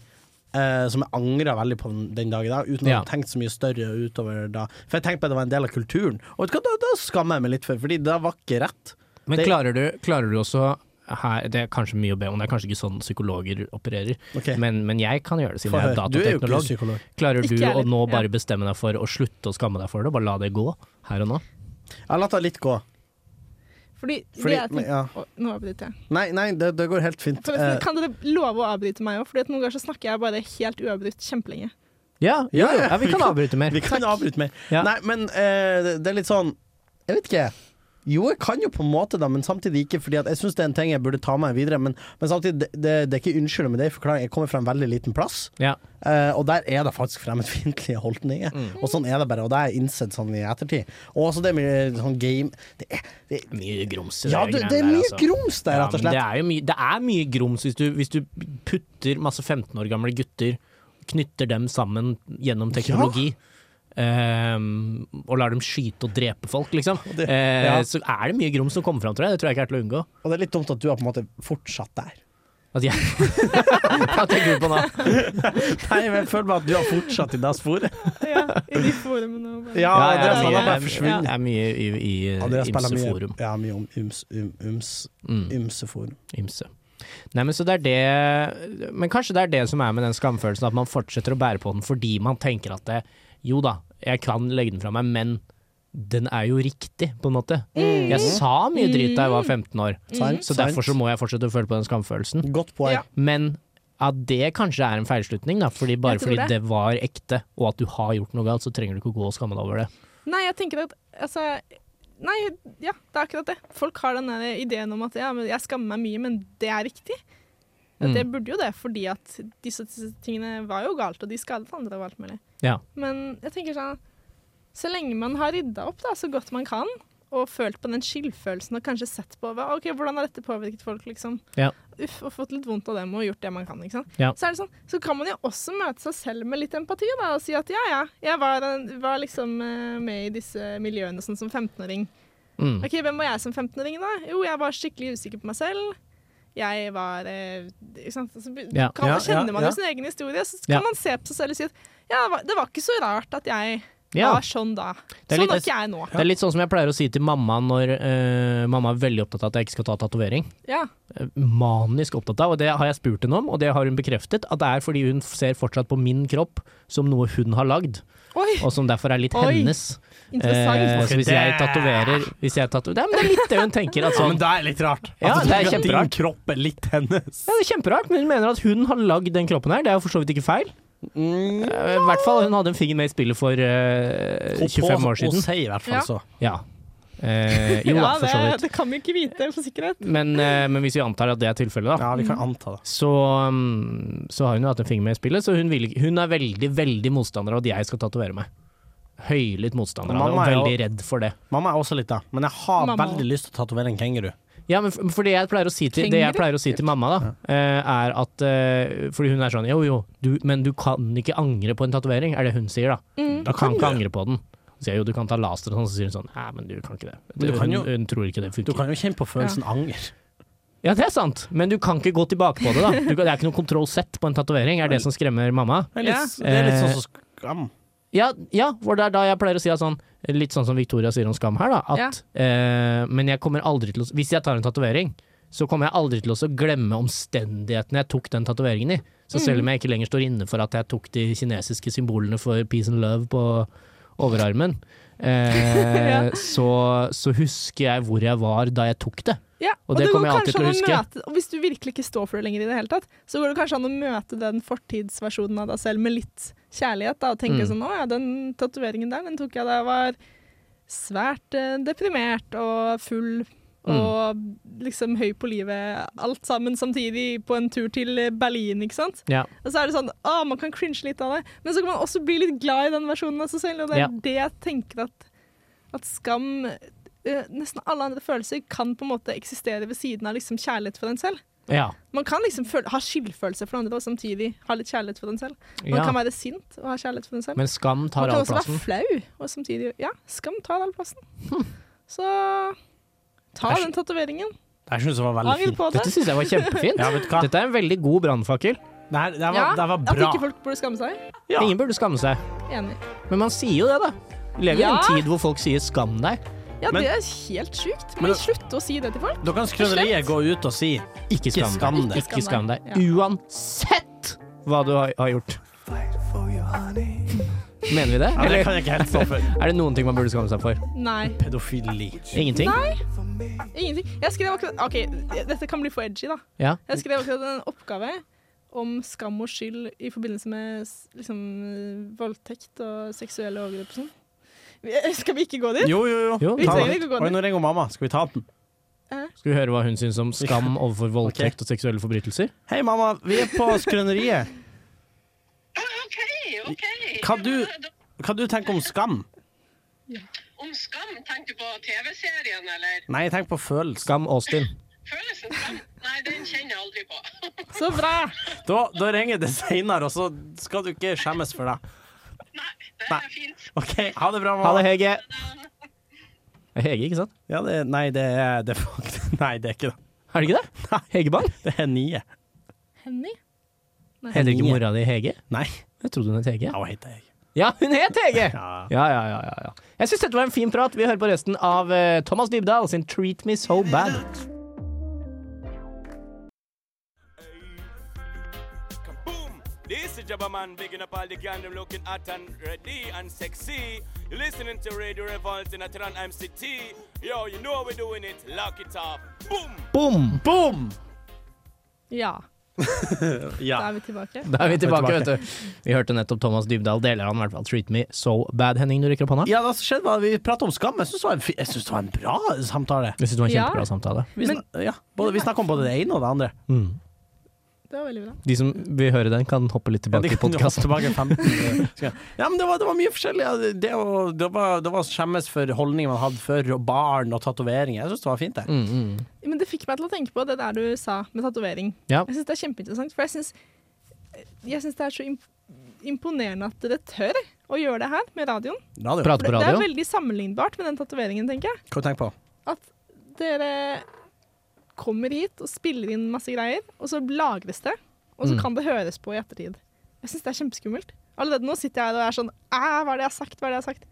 Speaker 5: eh, som jeg angrer veldig på den- den dag i dag, uten å
Speaker 3: Ja.
Speaker 5: ha tenkt så mye større utover da. For jeg tenkte på at det var en del av kulturen, og vet du hva, da, da skammer jeg meg litt for, fordi det var ikke rett.
Speaker 3: Men
Speaker 5: Det-
Speaker 3: klarer du, klarer du også her, Det er kanskje mye å be om, det er kanskje ikke sånn psykologer opererer,
Speaker 5: Ok.
Speaker 3: men, men jeg kan gjøre det siden
Speaker 5: Få
Speaker 3: jeg er
Speaker 5: høre. Du er jo ikke
Speaker 3: datateknolog.
Speaker 5: psykolog.
Speaker 3: Klarer du
Speaker 4: Ikke jeg
Speaker 3: å
Speaker 4: heller.
Speaker 3: nå bare bestemme deg for å slutte å skamme deg for det, og bare la det gå her og nå?
Speaker 5: Jeg har latt det litt gå.
Speaker 4: Fordi,
Speaker 5: Fordi-
Speaker 4: det jeg
Speaker 5: men,
Speaker 4: tenker...
Speaker 5: ja.
Speaker 4: Å, nå avbryter jeg.
Speaker 5: Nei, nei, det, det går helt fint.
Speaker 4: Forresten,
Speaker 5: Eh,
Speaker 4: kan dere love å avbryte meg òg? For noen ganger så snakker jeg bare helt uavbrutt kjempelenge.
Speaker 3: Ja, jo,
Speaker 5: Ja,
Speaker 3: jo,
Speaker 5: ja.
Speaker 3: ja, vi kan avbryte mer.
Speaker 5: Vi kan avbryte mer.
Speaker 3: Ja.
Speaker 5: Nei, men eh, det- det er litt sånn Jeg vet ikke. Jo, jeg kan jo på en måte, da, men samtidig ikke. Fordi at jeg syns det er en ting jeg burde ta med meg videre. Men, men samtidig, det, det, det er ikke unnskyld med det. Forklaring. Jeg kommer fra en veldig liten plass,
Speaker 3: Ja.
Speaker 5: eh, og der er det faktisk fremmedfiendtlige holdninger. Og sånn er det bare, og det har jeg innsett sånn i ettertid. Og også det med sånn game Det er, det,
Speaker 3: Mye grums i
Speaker 5: ja,
Speaker 3: de
Speaker 5: det,
Speaker 3: greiene
Speaker 5: det er
Speaker 3: der,
Speaker 5: mye
Speaker 3: altså.
Speaker 5: grums der,
Speaker 3: Ja,
Speaker 5: rett og
Speaker 3: men
Speaker 5: slett.
Speaker 3: Det er, jo mye, det er mye grums hvis du, hvis du putter masse 15 år gamle gutter, knytter dem sammen gjennom teknologi. ehm, og lar dem skyte og drepe folk, liksom.
Speaker 5: det-
Speaker 3: Eh,
Speaker 5: ja.
Speaker 3: Så er det mye grums som kommer fram, tror jeg. Det tror jeg ikke er til å unngå.
Speaker 5: Og det er litt dumt at du har på en måte fortsatt der.
Speaker 3: At jeg, Hva tenker du på nå?
Speaker 5: Nei, men jeg føler bare at du har fortsatt i det sporet.
Speaker 4: Ja, I de forumene og bare
Speaker 5: Ja,
Speaker 3: Ja,
Speaker 5: det
Speaker 3: jeg
Speaker 5: er
Speaker 3: er
Speaker 5: sånn
Speaker 3: mye-
Speaker 5: at bare forsvunnet.
Speaker 3: Jeg er mye i, i,
Speaker 5: Ja, dere spiller
Speaker 3: ymse
Speaker 5: mye,
Speaker 3: forum.
Speaker 5: Ja, mye om ums, um, ums,
Speaker 3: Mm.
Speaker 5: ymseforum.
Speaker 3: Ymse. Nei, men så det er det Men kanskje det er det som er med den skamfølelsen, at man fortsetter å bære på den fordi man tenker at det, jo da, jeg kan legge den fra meg, men den er jo riktig, på en måte.
Speaker 4: Mm.
Speaker 3: Jeg sa mye dritt da jeg var 15 år,
Speaker 5: Sant,
Speaker 3: så
Speaker 5: sant.
Speaker 3: derfor så må jeg fortsette å føle på den skamfølelsen.
Speaker 5: Godt poeng.
Speaker 4: Mhm. Ja.
Speaker 3: Men at det kanskje er en feilslutning, da, fordi bare
Speaker 4: Jeg tror
Speaker 3: fordi det.
Speaker 4: det.
Speaker 3: var ekte, og at du har gjort noe galt, så trenger du ikke å gå og skamme deg over det.
Speaker 4: Nei, jeg tenker at altså, Nei, ja, det er akkurat det. Folk har den der ideen om at ja, men jeg skammer meg mye, men det er riktig. Ja,
Speaker 3: Mm.
Speaker 4: Det burde jo det, fordi at disse tingene var jo galt, og de skadet andre og alt mulig.
Speaker 3: Ja.
Speaker 4: Men jeg tenker sånn Så lenge man har rydda opp da, så godt man kan, og følt på den skyldfølelsen og kanskje sett på hva, ok, hvordan har dette påvirket folk, liksom.
Speaker 3: Ja.
Speaker 4: Uff, og fått litt vondt av dem og gjort det man kan. Ikke sant?
Speaker 3: Ja.
Speaker 4: Så, er det sånn, så kan man jo også møte seg selv med litt empati da, og si at ja, ja, jeg var, en- var liksom eh, med i disse miljøene sånn som 15-åring.
Speaker 3: Mm.
Speaker 4: Ok, Hvem var jeg som 15-åring, da? Jo, jeg var skikkelig usikker på meg selv. Jeg var eh, ikke sant? Så be-
Speaker 3: Ja.
Speaker 4: kan,
Speaker 5: Ja,
Speaker 4: Kjenner man
Speaker 5: ja,
Speaker 4: jo sin egen historie, så
Speaker 3: Ja.
Speaker 4: kan man se på seg selv og si at ja, det var, det var ikke så rart at jeg Ja,
Speaker 3: Ja.
Speaker 4: sånn da.
Speaker 3: Det er
Speaker 4: Sånn
Speaker 3: litt-
Speaker 4: er ikke jeg nå.
Speaker 3: Det er litt sånn som jeg pleier å si til mamma når eh, mamma er veldig opptatt av at jeg ikke skal ta tatovering.
Speaker 4: Ja.
Speaker 3: Eh, Manisk opptatt av, og det har jeg spurt henne om, og det har hun bekreftet. At det er fordi hun ser fortsatt på min kropp som noe hun har lagd,
Speaker 4: Oi,
Speaker 3: og som derfor er litt
Speaker 4: Oi.
Speaker 3: hennes. Eh,
Speaker 4: interessant.
Speaker 3: så hvis jeg tatoverer hvis jeg tatover, Nei, men Det er litt det hun tenker. At
Speaker 5: Ja,
Speaker 3: sånn,
Speaker 5: men det er litt rart.
Speaker 3: Ja,
Speaker 5: At du
Speaker 3: det er
Speaker 5: tenker at
Speaker 3: kjemperart.
Speaker 5: Din kropp er litt hennes.
Speaker 3: ja, det er kjemperart, men hun mener at hun har lagd den kroppen her. Det er jo for så vidt ikke feil.
Speaker 5: Mm.
Speaker 3: Eh, I hvert fall hun hadde en finger med i spillet for eh, 25 år
Speaker 5: Og
Speaker 3: siden.
Speaker 5: si i hvert fall
Speaker 4: Ja.
Speaker 5: så.
Speaker 3: Ja. Eh, jo da,
Speaker 4: ja,
Speaker 3: for så
Speaker 4: det,
Speaker 3: vidt.
Speaker 4: det kan vi ikke vite for sikkerhet.
Speaker 3: Men, eh, men hvis vi antar at det er tilfellet, da.
Speaker 5: Ja, vi kan anta det.
Speaker 3: så, um, så har hun jo hatt en finger med i spillet, så hun, vil, ikke- hun er veldig, veldig motstander av at jeg skal tatovere meg. Høylytt motstander av det, og
Speaker 5: Mamma er jo-
Speaker 3: veldig redd for det.
Speaker 5: Mamma er også litt da, men jeg har
Speaker 4: Mamma.
Speaker 5: veldig lyst til å tatovere en kenguru.
Speaker 3: Ja, men for for det jeg pleier å si til, det jeg pleier å si til mamma, da, eh, er at eh, Fordi hun er sånn Jo, jo, du, men du kan ikke angre på en tatovering, er det hun sier, da. Du kan ikke angre på den. Så sier jeg jo, du kan ta laster og sånn, så sier hun sånn Nei, men du kan ikke det.
Speaker 5: Men du kan jo-
Speaker 3: hun, hun tror ikke det
Speaker 5: Du
Speaker 3: funker.
Speaker 5: kan jo kjenne på følelsen anger.
Speaker 3: Ja, det er sant, men du kan ikke gå tilbake på det, da. Du, kan- det er ikke noe kontroll sett på en tatovering, er det som skremmer mamma.
Speaker 5: Det er
Speaker 4: Ja.
Speaker 5: litt, det er
Speaker 3: Eh,
Speaker 5: litt sånn som skam.
Speaker 3: Ja, ja for det er da jeg pleier å si at sånn, litt sånn som Victoria sier om skam her, da. At, eh, men jeg kommer aldri til å Hvis jeg tar en tatovering, så kommer jeg aldri til å så glemme omstendighetene jeg tok den tatoveringen i. Så
Speaker 4: Mm.
Speaker 3: selv om jeg ikke lenger står inne for at jeg tok de kinesiske symbolene for peace and love på overarmen, eh, så, så husker jeg hvor jeg var da jeg tok det.
Speaker 4: Ja,
Speaker 3: Og det kommer jeg alltid
Speaker 4: kanskje
Speaker 3: til å
Speaker 4: an Møte, og hvis du virkelig ikke står for det lenger i det hele tatt, så går det kanskje an å møte den fortidsversjonen av deg selv med litt kjærlighet, da, og tenke
Speaker 3: Mm.
Speaker 4: sånn Å ja, den tatoveringen der, den tok jeg da jeg var svært eh, deprimert og full.
Speaker 3: Mm.
Speaker 4: Og liksom høy på livet, alt sammen samtidig på en tur til Berlin, ikke sant.
Speaker 3: Ja.
Speaker 4: Og så er det sånn, å, man kan cringe litt av det, men så kan man også bli litt glad i den versjonen av seg selv, og det er
Speaker 3: Ja.
Speaker 4: det jeg tenker at, at skam eh, Nesten alle andre følelser kan på en måte eksistere ved siden av liksom kjærlighet for en selv.
Speaker 3: Ja.
Speaker 4: Man kan liksom føle, ha skyldfølelse for andre og samtidig ha litt kjærlighet for en selv. Man
Speaker 3: ja.
Speaker 4: kan være sint og ha kjærlighet for en selv.
Speaker 3: Men skam
Speaker 4: Man
Speaker 3: tar
Speaker 4: kan
Speaker 3: all
Speaker 4: også være
Speaker 3: plassen.
Speaker 4: flau og samtidig Ja, skam tar all plassen.
Speaker 5: Hm.
Speaker 4: Så ta den tatoveringen.
Speaker 5: Det her synes jeg var veldig
Speaker 4: Angre
Speaker 5: fint.
Speaker 4: på det.
Speaker 3: Dette syns jeg var kjempefint.
Speaker 5: Ja, vet du hva?
Speaker 3: Dette er en veldig god brannfakkel.
Speaker 5: Det her, det her var,
Speaker 4: Ja,
Speaker 5: det her var
Speaker 4: At
Speaker 5: bra.
Speaker 4: ikke folk burde skamme seg.
Speaker 5: Ja.
Speaker 3: Ingen burde skamme seg.
Speaker 4: Enig.
Speaker 3: Men man sier jo det, da. Vi lever
Speaker 4: Ja.
Speaker 3: i en tid hvor folk sier 'skam deg'.
Speaker 4: Ja,
Speaker 5: Men-
Speaker 4: det er helt sjukt.
Speaker 5: Men-
Speaker 4: Men slutt å si det til folk.
Speaker 5: Da kan skrøneriet
Speaker 4: Slett.
Speaker 5: gå ut og si
Speaker 3: Ikke
Speaker 5: Ikke
Speaker 3: skam deg.
Speaker 5: skam deg.
Speaker 3: Ikke skam deg.
Speaker 4: Ja.
Speaker 3: Uansett hva du har, har gjort. Mener vi det?
Speaker 5: Ja, det
Speaker 3: Eller
Speaker 5: kan jeg ikke helt stå for.
Speaker 3: er det noen ting man burde skamme seg for?
Speaker 4: Nei,
Speaker 5: Pedofili.
Speaker 3: Ingenting?
Speaker 4: ingenting. Jeg skrev akkurat OK, dette kan bli for edgy, da.
Speaker 3: Ja.
Speaker 4: Jeg skrev akkurat en oppgave om skam og skyld i forbindelse med s- liksom, voldtekt og seksuelle overgrep og sånn. Vi- Skal vi ikke gå dit?
Speaker 5: Jo, jo, jo.
Speaker 3: Jo,
Speaker 4: Vi
Speaker 5: Ta
Speaker 4: trenger
Speaker 5: den.
Speaker 4: ikke å gå
Speaker 5: Oi,
Speaker 4: ned.
Speaker 5: nå ringer mamma. Skal vi ta den?
Speaker 3: Skal vi høre hva hun syns om skam overfor voldtekt og seksuelle forbrytelser?
Speaker 5: Hei, mamma. Vi er på skrøneriet.
Speaker 8: Ah, OK, OK.
Speaker 5: Hva du, hva du tenker om skam?
Speaker 8: Om skam, tenkte du på TV-serien, eller?
Speaker 5: Nei, jeg tenker på følelser.
Speaker 3: Skam Austin.
Speaker 8: Følelsen skam? Nei, den kjenner jeg aldri på.
Speaker 4: Så bra!
Speaker 5: Da, da ringer det seinere, og så skal du ikke skjemmes for det.
Speaker 8: Nei, det
Speaker 5: Nei.
Speaker 8: er fint.
Speaker 5: OK, ha det bra, mamma.
Speaker 3: Ha det, Hege. Hege, ikke sant?
Speaker 5: Ja, det, nei, det er det er fakt- Nei, det er ikke det.
Speaker 3: Er det ikke det? Hege Bang?
Speaker 5: Det er nye.
Speaker 4: Henny?
Speaker 3: Heter ikke mora di Hege?
Speaker 5: Nei,
Speaker 3: Jeg trodde hun het Hege.
Speaker 5: ja, hva heter jeg?
Speaker 3: Ja, hun het Hege!
Speaker 5: Ja.
Speaker 3: Ja, ja, ja. ja, ja. Jeg syns dette var en fin prat. Vi hører på resten av eh, Thomas Dybdahl sin 'Treat Me So Bad'.
Speaker 9: Boom! This is Jabba Man bigging up all the gang, looking hot and ready and sexy. You're listening to Radio Revolt in Atran MCT. Yo, you know how we're doing it. Lock it up. Boom!
Speaker 3: Boom!
Speaker 5: Boom!
Speaker 4: Ja, da
Speaker 5: Ja.
Speaker 4: er vi tilbake.
Speaker 3: Da er vi tilbake, vet du. Vi hørte nettopp Thomas Dybdahl, deler han i hvert fall 'Treat Me So Bad'. Henning, du rekker opp hånda?
Speaker 5: ja, det som skjedde var at vi prata om skam. Jeg syns det, var en fi- jeg synes det var en bra samtale.
Speaker 3: Jeg syns det var en
Speaker 4: Ja.
Speaker 3: kjempebra samtale.
Speaker 5: Vi, snak, ja, både, vi snakka om både det ene og det andre.
Speaker 4: Det var veldig bra.
Speaker 3: Mm. De som vil høre den, kan hoppe litt
Speaker 5: Ja, de
Speaker 3: tilbake i
Speaker 5: kan jo hoppe
Speaker 3: podkasten.
Speaker 5: tilbake 15. Ja, men det var, det var mye forskjellig. Ja, Det, det, å- det, var, det var å skjemmes for holdninger man hadde før, og barn og tatoveringer. Jeg syns det var fint, det.
Speaker 3: Mm, mm.
Speaker 4: Men det fikk meg til å tenke på det der du sa med tatovering.
Speaker 3: Ja.
Speaker 4: Jeg syns det er kjempeinteressant, for jeg syns jeg synes det er så imp- imponerende at dere tør å gjøre det her med radioen.
Speaker 5: Radio.
Speaker 3: Prate
Speaker 4: For
Speaker 3: på
Speaker 4: det, det er
Speaker 3: radio.
Speaker 4: veldig sammenlignbart med den tatoveringen, tenker jeg.
Speaker 5: Hva du tenker du på?
Speaker 4: At dere kommer hit og spiller
Speaker 3: Mm.
Speaker 4: inn masse greier, og så lagres det. Og så kan det høres på i ettertid. Jeg syns det er kjempeskummelt. Allerede nå sitter jeg der og er sånn Æ, hva er det jeg har sagt, hva er det jeg har sagt?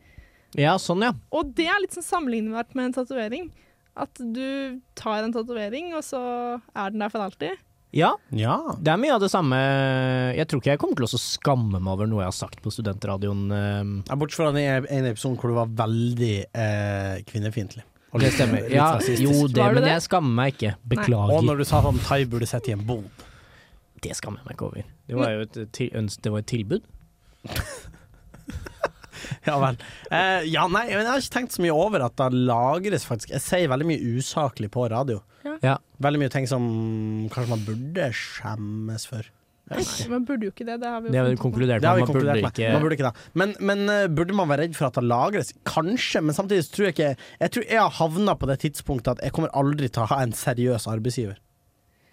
Speaker 3: Ja, sånn, ja.
Speaker 4: Og det er litt sånn sammenlignbart med en tatovering. At du tar en tatovering, og så er den der for alltid.
Speaker 3: Ja,
Speaker 5: Ja.
Speaker 3: det er mye av det samme Jeg tror ikke jeg kommer til å så skamme meg over noe jeg har sagt på studentradioen. ehm,
Speaker 5: Ja, Bortsett fra den ene- ene episoden hvor du var veldig eh, kvinnefiendtlig. Og
Speaker 3: Det
Speaker 5: litt-
Speaker 3: stemmer.
Speaker 5: litt
Speaker 3: Ja,
Speaker 5: rasistisk.
Speaker 3: jo, det,
Speaker 4: Var
Speaker 3: men
Speaker 4: det det?
Speaker 3: jeg skammer meg ikke.
Speaker 5: Og
Speaker 3: Beklager.
Speaker 5: når du sa sånn thai burde sett i en bod.
Speaker 3: Det skammer jeg meg ikke over. Det var jo et, eh, til, øns- det var et tilbud.
Speaker 5: Ja vel. Eh, ja, nei, men jeg har ikke tenkt så mye over at det lagres faktisk Jeg sier veldig mye usaklig på radio.
Speaker 3: Ja.
Speaker 5: Veldig mye ting som kanskje man burde skjemmes for.
Speaker 4: Man burde jo ikke det. Det har vi jo
Speaker 3: Det har vi
Speaker 4: funnet ut nå.
Speaker 3: konkludert
Speaker 5: Det har
Speaker 3: med.
Speaker 5: vi
Speaker 3: Man burde
Speaker 5: konkludert med.
Speaker 3: ikke
Speaker 5: Man burde ikke det. Men, men eh, burde man være redd for at det lagres? Kanskje, men samtidig så tror jeg ikke Jeg tror jeg har havna på det tidspunktet at jeg kommer aldri til å ha en seriøs arbeidsgiver.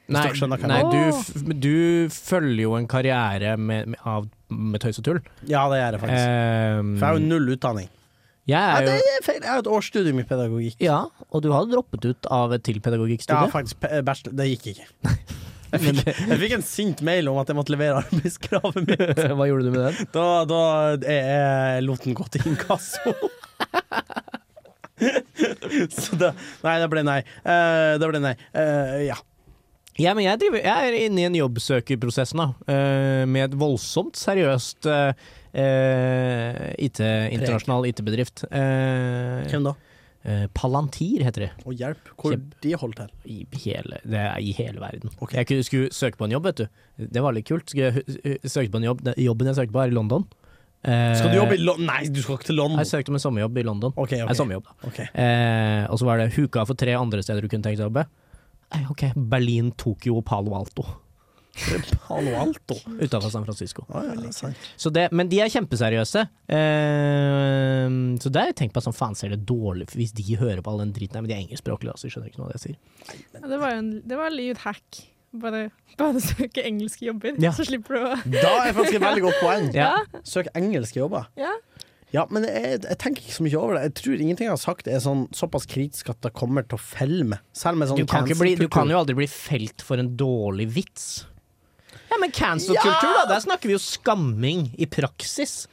Speaker 3: Nei,
Speaker 5: dere skjønner hva jeg
Speaker 3: nei du,
Speaker 4: mener.
Speaker 3: f- men du følger jo en karriere med, med, av, med tøys og tull.
Speaker 5: Ja, det gjør jeg faktisk.
Speaker 3: Ehm,
Speaker 5: For jeg har jo null utdanning.
Speaker 3: jeg
Speaker 5: Nei,
Speaker 3: er
Speaker 5: det
Speaker 3: jo
Speaker 5: er feil. Jeg har jo et årsstudium i pedagogikk.
Speaker 3: Ja, og du har droppet ut av et til
Speaker 5: Ja,
Speaker 3: pedagogikkstudie.
Speaker 5: faktisk. pe- eh, Bachelor. Det gikk ikke. Jeg fikk, jeg fikk en sint mail om at jeg måtte levere arbeidskravet mitt.
Speaker 3: Hva gjorde du med den?
Speaker 5: Da, da jeg, jeg lot den gå til inkasso. Så det Nei, det ble nei. Eh, det ble nei. Eh, ja.
Speaker 3: Ja, men jeg, driver, jeg er inne i en jobbsøkerprosess nå, eh, med et voldsomt seriøst eh, eh, IT, internasjonal IT-bedrift. Eh,
Speaker 5: Hvem da?
Speaker 3: eh, Palantir heter det.
Speaker 5: Å, hjelp. Hvor
Speaker 3: Kjem-
Speaker 5: de holdt til?
Speaker 3: I hele, det er i hele verden.
Speaker 5: Ok.
Speaker 3: Jeg kunne, skulle søke på en jobb, vet du. Det var litt kult. Skulle jeg hu- hu- søke på en jobb. Den Jobben jeg søkte på, er i London. Eh,
Speaker 5: Skal du jobbe i London? Nei, du skal ikke til London.
Speaker 3: Jeg søkte om en sommerjobb i London.
Speaker 5: Ok,
Speaker 3: En
Speaker 5: ok.
Speaker 3: sommerjobb, da.
Speaker 5: Ok.
Speaker 3: Eh, og så var det huka for tre andre steder du kunne tenkt deg å jobbe. Eh, Ok, Berlin, Tokyo og Palo Alto
Speaker 5: Palo Alto.
Speaker 3: utenfor San Francisco.
Speaker 5: Å, ja, det er sant.
Speaker 3: Så det, men de er kjempeseriøse. Eh, så der tenk på sånn, faen ser det dårlig ut hvis de hører på all den driten her, men de er engelskspråklige, altså, de skjønner ikke noe av det jeg sier.
Speaker 4: Ja, det var jo en, det var en lyd hack. Bare, bare søke engelske jobber,
Speaker 3: Ja.
Speaker 4: så slipper du å
Speaker 5: Da er faktisk et veldig godt poeng.
Speaker 3: Ja.
Speaker 5: Søk engelske jobber.
Speaker 4: Ja.
Speaker 5: Ja, men jeg, jeg tenker ikke så mye over det. Jeg tror ingenting jeg har sagt er sånn, såpass kritisk at det kommer til å felle meg. Selv med sånn
Speaker 3: Du kan, ikke bli, du
Speaker 5: cancel-kultur.
Speaker 3: kan jo aldri bli felt for en dårlig vits. Ja, men cancel-kultur, da! Der snakker vi jo skamming i praksis.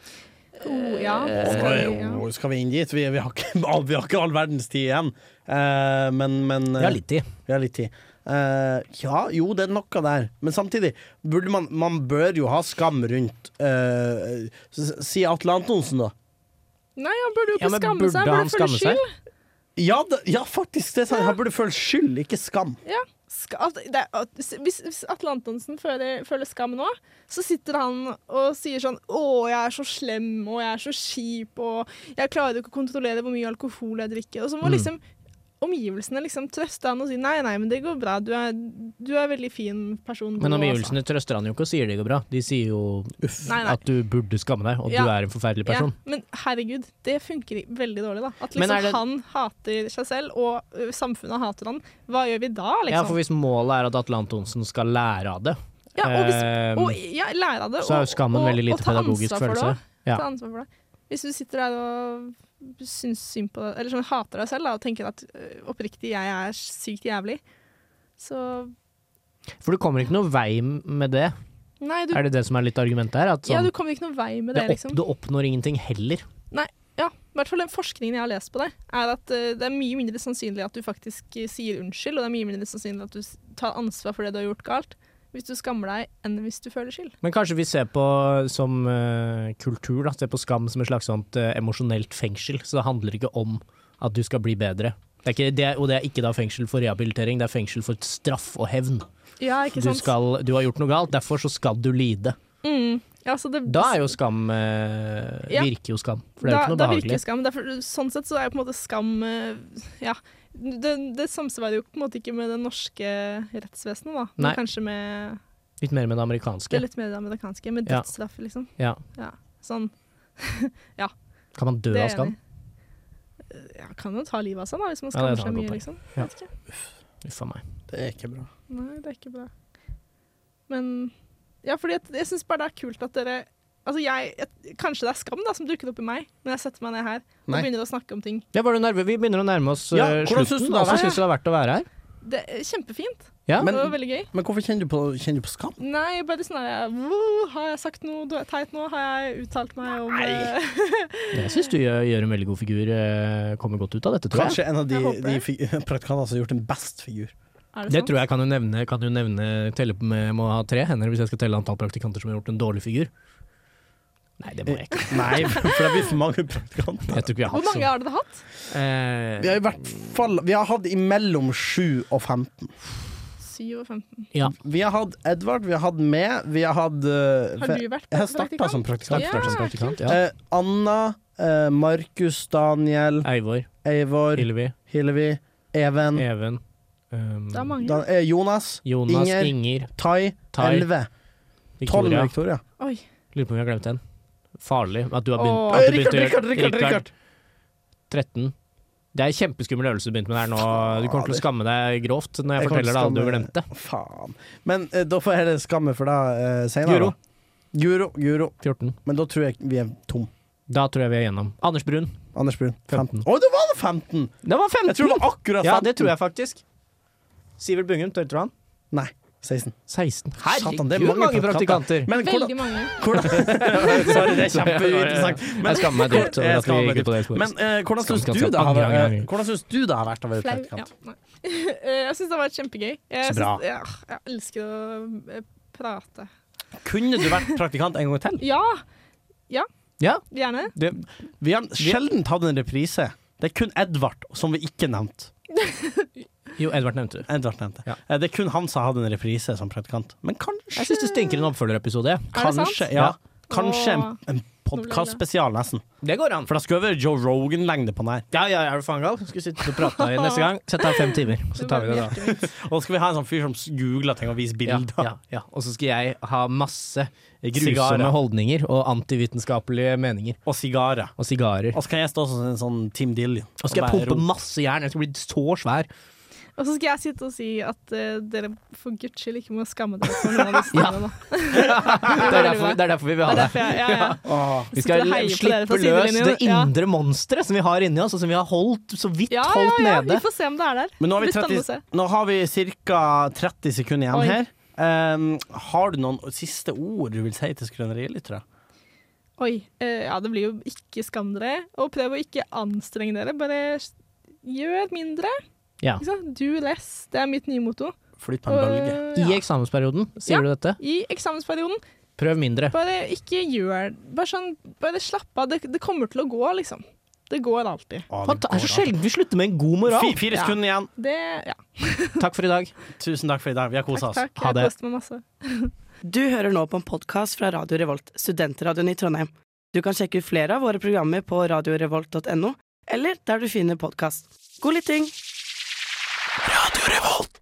Speaker 4: oh, ja.
Speaker 5: Oi,
Speaker 4: Skal vi, ja.
Speaker 5: oi, Skal vi inn dit? Vi, vi, har ikke, all- vi har ikke all verdens tid igjen. Eh, men men eh,
Speaker 3: Ja, litt i.
Speaker 5: vi har litt tid. Eh, ja, jo, det er noe der. Men samtidig burde man Man bør jo ha skam rundt eh, s- Si Atle Antonsen, da.
Speaker 4: Nei, han burde jo
Speaker 3: Ja,
Speaker 4: ikke
Speaker 3: men
Speaker 4: skamme
Speaker 3: burde
Speaker 4: seg.
Speaker 3: han
Speaker 4: Han burde
Speaker 3: skamme
Speaker 4: føle
Speaker 3: seg?
Speaker 4: skyld.
Speaker 5: Ja, det, ja faktisk. Det er sant. Han burde føle skyld, ikke skam.
Speaker 4: Ja. Ska, at, det, er- at, hvis, hvis Atle Antonsen føler, føler skam nå, så sitter han og sier sånn Å, jeg er så slem, og jeg er så kjip, og jeg klarer ikke å kontrollere hvor mye alkohol jeg drikker. Og så må
Speaker 3: Mm.
Speaker 4: liksom omgivelsene liksom trøste han og si nei, nei, men det går bra, du er, du er en veldig fin person. sånn.» du
Speaker 3: Men
Speaker 4: også».
Speaker 3: omgivelsene trøster han jo ikke og sier det går bra. De sier jo
Speaker 4: altså. Nei, nei.
Speaker 3: at du burde skamme deg, og
Speaker 4: Ja.
Speaker 3: du er en forferdelig person.
Speaker 4: Ja, men herregud, det funker i- veldig dårlig, da. At
Speaker 3: Men er
Speaker 4: liksom
Speaker 3: det-
Speaker 4: han hater seg selv, og ø, samfunnet hater han. Hva gjør vi da, liksom?
Speaker 3: Ja, for hvis målet er at Atle Antonsen skal lære av det,
Speaker 4: Ja, og hvis,
Speaker 3: Ehm,
Speaker 4: og, ja, lære av det.
Speaker 3: så er
Speaker 4: og-
Speaker 3: jo skammen
Speaker 4: og-
Speaker 3: veldig
Speaker 4: og
Speaker 3: lite
Speaker 4: ta
Speaker 3: pedagogisk
Speaker 4: ansvar for det
Speaker 3: følelse.
Speaker 4: også.
Speaker 3: Ja.
Speaker 4: Ta ansvar for det. Hvis du sitter der og syns synd på deg, eller sånn hater deg selv da, og tenker at ø, oppriktig, jeg er sykt jævlig, så
Speaker 3: For du kommer ikke noe vei med det.
Speaker 4: Nei, du,
Speaker 3: Er det det som er litt argumentet her? At
Speaker 4: ja,
Speaker 3: sånn,
Speaker 4: du kommer ikke noen vei med
Speaker 3: det
Speaker 4: det,
Speaker 3: opp,
Speaker 4: liksom.
Speaker 3: du oppnår ingenting heller.
Speaker 4: Ja, i hvert fall den forskningen jeg har lest på det, er at ø, det er mye mindre sannsynlig at du faktisk ø, sier unnskyld, og det er mye mindre sannsynlig at du s- tar ansvar for det du har gjort galt, hvis du skammer deg, enn hvis du føler skyld.
Speaker 3: Men kanskje vi ser på som eh, kultur, da, ser på skam som et slags sånt eh, emosjonelt fengsel. Så det handler ikke om at du skal bli bedre. Det er ikke, det, er- og det er ikke da fengsel for rehabilitering, det er fengsel for straff og hevn.
Speaker 4: Ja, ikke
Speaker 3: Du,
Speaker 4: sant?
Speaker 3: skal, du har gjort noe galt, derfor så skal du lide.
Speaker 4: Mm. Ja, så det,
Speaker 3: Da er jo skam eh,
Speaker 4: Ja.
Speaker 3: Virker jo skam. For det er jo ikke noe
Speaker 4: da, da virker
Speaker 3: behagelig.
Speaker 4: skam. Derfor, sånn sett så er jo på en måte skam eh, Ja. Det, det samsvarer jo på en måte ikke med det norske rettsvesenet, da.
Speaker 3: Nei.
Speaker 4: Men kanskje med
Speaker 3: Litt mer med det
Speaker 4: det er
Speaker 3: amerikanske.
Speaker 4: litt mer det amerikanske. Med
Speaker 3: Ja.
Speaker 4: dødsstraff, liksom.
Speaker 3: Ja.
Speaker 4: Sånn.
Speaker 3: Kan man dø
Speaker 4: det er
Speaker 3: av skam?
Speaker 4: enig. Ja, kan jo ta livet av seg, da, hvis man
Speaker 3: Ja, det er et
Speaker 4: skammer seg
Speaker 3: annet
Speaker 4: mye,
Speaker 3: godt
Speaker 4: liksom.
Speaker 3: Ja.
Speaker 4: Vet ikke.
Speaker 3: Uff a meg.
Speaker 5: Det er ikke bra.
Speaker 4: Nei, det er ikke bra. Men Ja, fordi at, jeg syns bare det er kult at dere Altså, jeg, jeg Kanskje det er skam da som dukker opp i meg når jeg setter meg ned her og
Speaker 5: Nei.
Speaker 4: begynner å snakke om ting.
Speaker 3: Ja, var du nervøs? Vi begynner å nærme oss
Speaker 5: Ja,
Speaker 3: eh,
Speaker 5: hvordan
Speaker 3: slutten.
Speaker 5: synes du det
Speaker 3: Hvordan
Speaker 5: har vært?
Speaker 3: syns du det har vært å være her?
Speaker 4: Det er kjempefint.
Speaker 3: Ja.
Speaker 5: Men-
Speaker 4: Det var veldig gøy.
Speaker 5: Men hvorfor kjenner du på, kjenner du på skam?
Speaker 4: Nei, bare sånn der «Woo, Har jeg sagt noe dø- teit nå? Har jeg uttalt meg om eh,
Speaker 3: Jeg syns du gjør, gjør en veldig god figur. eh, Kommer godt ut av dette, tror jeg.
Speaker 5: Kanskje en av de,
Speaker 4: Jeg håper
Speaker 5: de
Speaker 4: det.
Speaker 5: fi- praktikantene som har gjort en best figur.
Speaker 4: Er sånn?»
Speaker 3: Det tror jeg kan du nevne. Kan du nevne telle på med, må ha tre hender hvis jeg skal telle antall praktikanter som har gjort en dårlig figur? Nei, det må jeg ikke.
Speaker 5: Nei, for det blir for mange praktikanter.
Speaker 3: Jeg altså. tror ikke vi har
Speaker 4: Hvor
Speaker 3: hatt
Speaker 4: mange har dere hatt?
Speaker 5: Vi
Speaker 3: sånn.
Speaker 5: har i hvert fall Vi har hatt imellom 7 og 15.
Speaker 4: 7 og 15.
Speaker 5: Vi har hatt Edvard, vi har hatt med, vi har hatt eh,
Speaker 4: Har
Speaker 5: fe-
Speaker 4: du vært
Speaker 5: Jeg har starta som praktikant.
Speaker 4: Ja,
Speaker 3: Eh,
Speaker 4: kult.
Speaker 3: praktikant, ja.
Speaker 5: Eh, Anna, eh, Markus, Daniel,
Speaker 3: Eivor,
Speaker 5: Eivor,
Speaker 3: Ylvi,
Speaker 5: Hillevi, Even,
Speaker 3: Even, um,
Speaker 4: Det er mange.
Speaker 5: Dan, eh, Jonas,
Speaker 3: Jonas,
Speaker 5: Inger.
Speaker 3: Inger,
Speaker 5: Tai,
Speaker 3: Tai.
Speaker 5: 11. 12 med
Speaker 3: Victoria.
Speaker 5: Victoria.
Speaker 4: Oi.
Speaker 3: Lurer på om vi har glemt en. Farlig at du har begynt.
Speaker 4: Åh.
Speaker 3: at
Speaker 5: Eh,
Speaker 3: du begynte
Speaker 5: Rikard,
Speaker 3: å gjøre-
Speaker 5: Rikard, Rikard! Rikard.
Speaker 3: 13. Det er en kjempeskummel øvelse du begynte med der nå. Du kommer til å skamme deg grovt når jeg,
Speaker 5: Jeg kommer
Speaker 3: forteller
Speaker 5: til
Speaker 3: deg
Speaker 5: å
Speaker 3: at du har
Speaker 5: skamme-
Speaker 3: glemt det.
Speaker 5: Faen. Men eh, da får jeg heller skamme for deg eh, senere.
Speaker 3: Guro.
Speaker 5: da. Guro. Guro.
Speaker 3: 14.
Speaker 5: Men da tror jeg vi er tom.
Speaker 3: Da tror jeg vi er gjennom. Anders Brun.
Speaker 5: Anders Brun.
Speaker 3: 15.
Speaker 5: 15. Å, det var det 15!
Speaker 3: Det var 15!
Speaker 5: Jeg tror det var akkurat 15.
Speaker 3: Ja, det tror jeg faktisk. Sivert Bungum, telte du han?
Speaker 5: Nei. 16.
Speaker 3: 16.
Speaker 5: Satan, det er mange praktikanter. Men hvordan,
Speaker 4: Veldig mange.
Speaker 5: hvordan Sorry, det er kjempeinteressant.
Speaker 3: jeg skammer meg dypt over
Speaker 5: Jeg
Speaker 3: at vi
Speaker 5: skammer meg
Speaker 3: gikk ut på det sporet.
Speaker 5: Men eh, hvordan
Speaker 3: Skal-
Speaker 5: syns
Speaker 3: skal-
Speaker 5: du
Speaker 3: skal-
Speaker 5: det har
Speaker 3: angre, angre,
Speaker 5: vært eh,
Speaker 3: angre.
Speaker 5: Hvordan syns du det har vært å være
Speaker 4: Flau. Ja,
Speaker 5: praktikant?
Speaker 4: nei. Eh, jeg syns det har vært kjempegøy. Jeg
Speaker 5: Så bra.
Speaker 4: Synes, ja, jeg elsker å eh, prate.
Speaker 5: Kunne du vært praktikant en gang til?
Speaker 4: Ja! Ja,
Speaker 3: Ja,
Speaker 4: gjerne.
Speaker 3: det,
Speaker 5: Vi har sjelden tatt en reprise. Det er kun Edvard som vi ikke nevnte.
Speaker 3: jo, Edvard nevnte du.
Speaker 5: Edvard nevnte.
Speaker 3: Ja.
Speaker 5: Eh, Det er kun han som har hatt en reprise som praktikant. Men kanskje
Speaker 3: Jeg syns det stinker en oppfølgerepisode. jeg.
Speaker 4: Er det sant?
Speaker 5: Kanskje, ja. Kanskje en,
Speaker 4: Åh.
Speaker 5: en podkastspesial, nesten.
Speaker 3: Det går an.
Speaker 5: For da skulle vi være Joe Rogan-lengde på den her.
Speaker 3: Ja, ja, er du faen gal? Skal sitte og prate i neste gang. Sett deg fem timer, så tar vi det da.
Speaker 5: Og så skal vi ha en sånn fyr som googler ting og viser bilder.
Speaker 3: Ja, ja, ja. Og så skal jeg ha masse grusomme
Speaker 5: Sigarer.
Speaker 3: holdninger og antivitenskapelige meninger.
Speaker 5: Og sigarer.
Speaker 3: Og sigarer.
Speaker 5: Og så kan jeg stå som en sånn Team Dillion.
Speaker 3: Og så skal jeg pumpe masse jern. Jeg skal bli så svær.
Speaker 4: Og så skal jeg sitte og si at eh, dere for guds skyld ikke må skamme dere for noen av disse
Speaker 3: Ja.
Speaker 4: tingene.
Speaker 3: Det er derfor, det er derfor vi vil
Speaker 4: Det
Speaker 3: ha
Speaker 4: er
Speaker 3: det.
Speaker 4: derfor jeg ja, ja.
Speaker 3: Vi
Speaker 4: Sitter
Speaker 3: skal
Speaker 4: og heier på dere fra
Speaker 3: slippe løs
Speaker 4: sidelinjen.
Speaker 3: det
Speaker 4: Ja.
Speaker 3: indre monsteret som vi har inni oss, og som vi har holdt så vidt
Speaker 4: Ja, ja,
Speaker 3: holdt
Speaker 4: ja, vi
Speaker 3: nede.
Speaker 4: får se om det er der.
Speaker 5: Men nå har vi,
Speaker 4: Det blir
Speaker 5: 30,
Speaker 4: spennende å se.
Speaker 5: nå har vi ca. 30 sekunder igjen
Speaker 4: Oi.
Speaker 5: her. Um, har du noen siste ord du vil si til skrønerielyttere?
Speaker 4: Oi. eh, ja, det blir jo ikke skam dere. Og prøv å ikke anstrenge dere. Bare s- gjør mindre.
Speaker 3: Ja.
Speaker 4: Ikke sant? Do less. Det er mitt nye motto.
Speaker 5: Flyt på
Speaker 4: Øh,
Speaker 5: en bølge.
Speaker 4: Og,
Speaker 3: I
Speaker 4: ja.
Speaker 3: eksamensperioden, sier
Speaker 4: Ja.
Speaker 3: du dette?
Speaker 4: I eksamensperioden.
Speaker 3: Prøv mindre.
Speaker 4: Bare ikke gjør Bare sånn, bare slapp av. Det, det kommer til å gå, liksom. Det går alltid.
Speaker 5: Å,
Speaker 3: Fant- Det er
Speaker 5: går
Speaker 3: så
Speaker 5: da.
Speaker 3: sjelden vi slutter med en god moral.
Speaker 5: Fi- Fire
Speaker 4: Ja.
Speaker 5: sekunder igjen.
Speaker 4: Det Ja.
Speaker 3: Takk for i dag.
Speaker 5: Tusen takk for i dag. Vi har kosa
Speaker 4: Takk,
Speaker 5: oss.
Speaker 4: takk.
Speaker 3: Ha
Speaker 4: Jeg
Speaker 3: det.
Speaker 4: koste meg masse.
Speaker 10: Du hører nå på en podkast fra Radio Revolt, studentradioen i Trondheim. Du kan sjekke ut flere av våre programmer på radiorevolt.no, eller der du finner podkast. God lytting! Radio Revolt!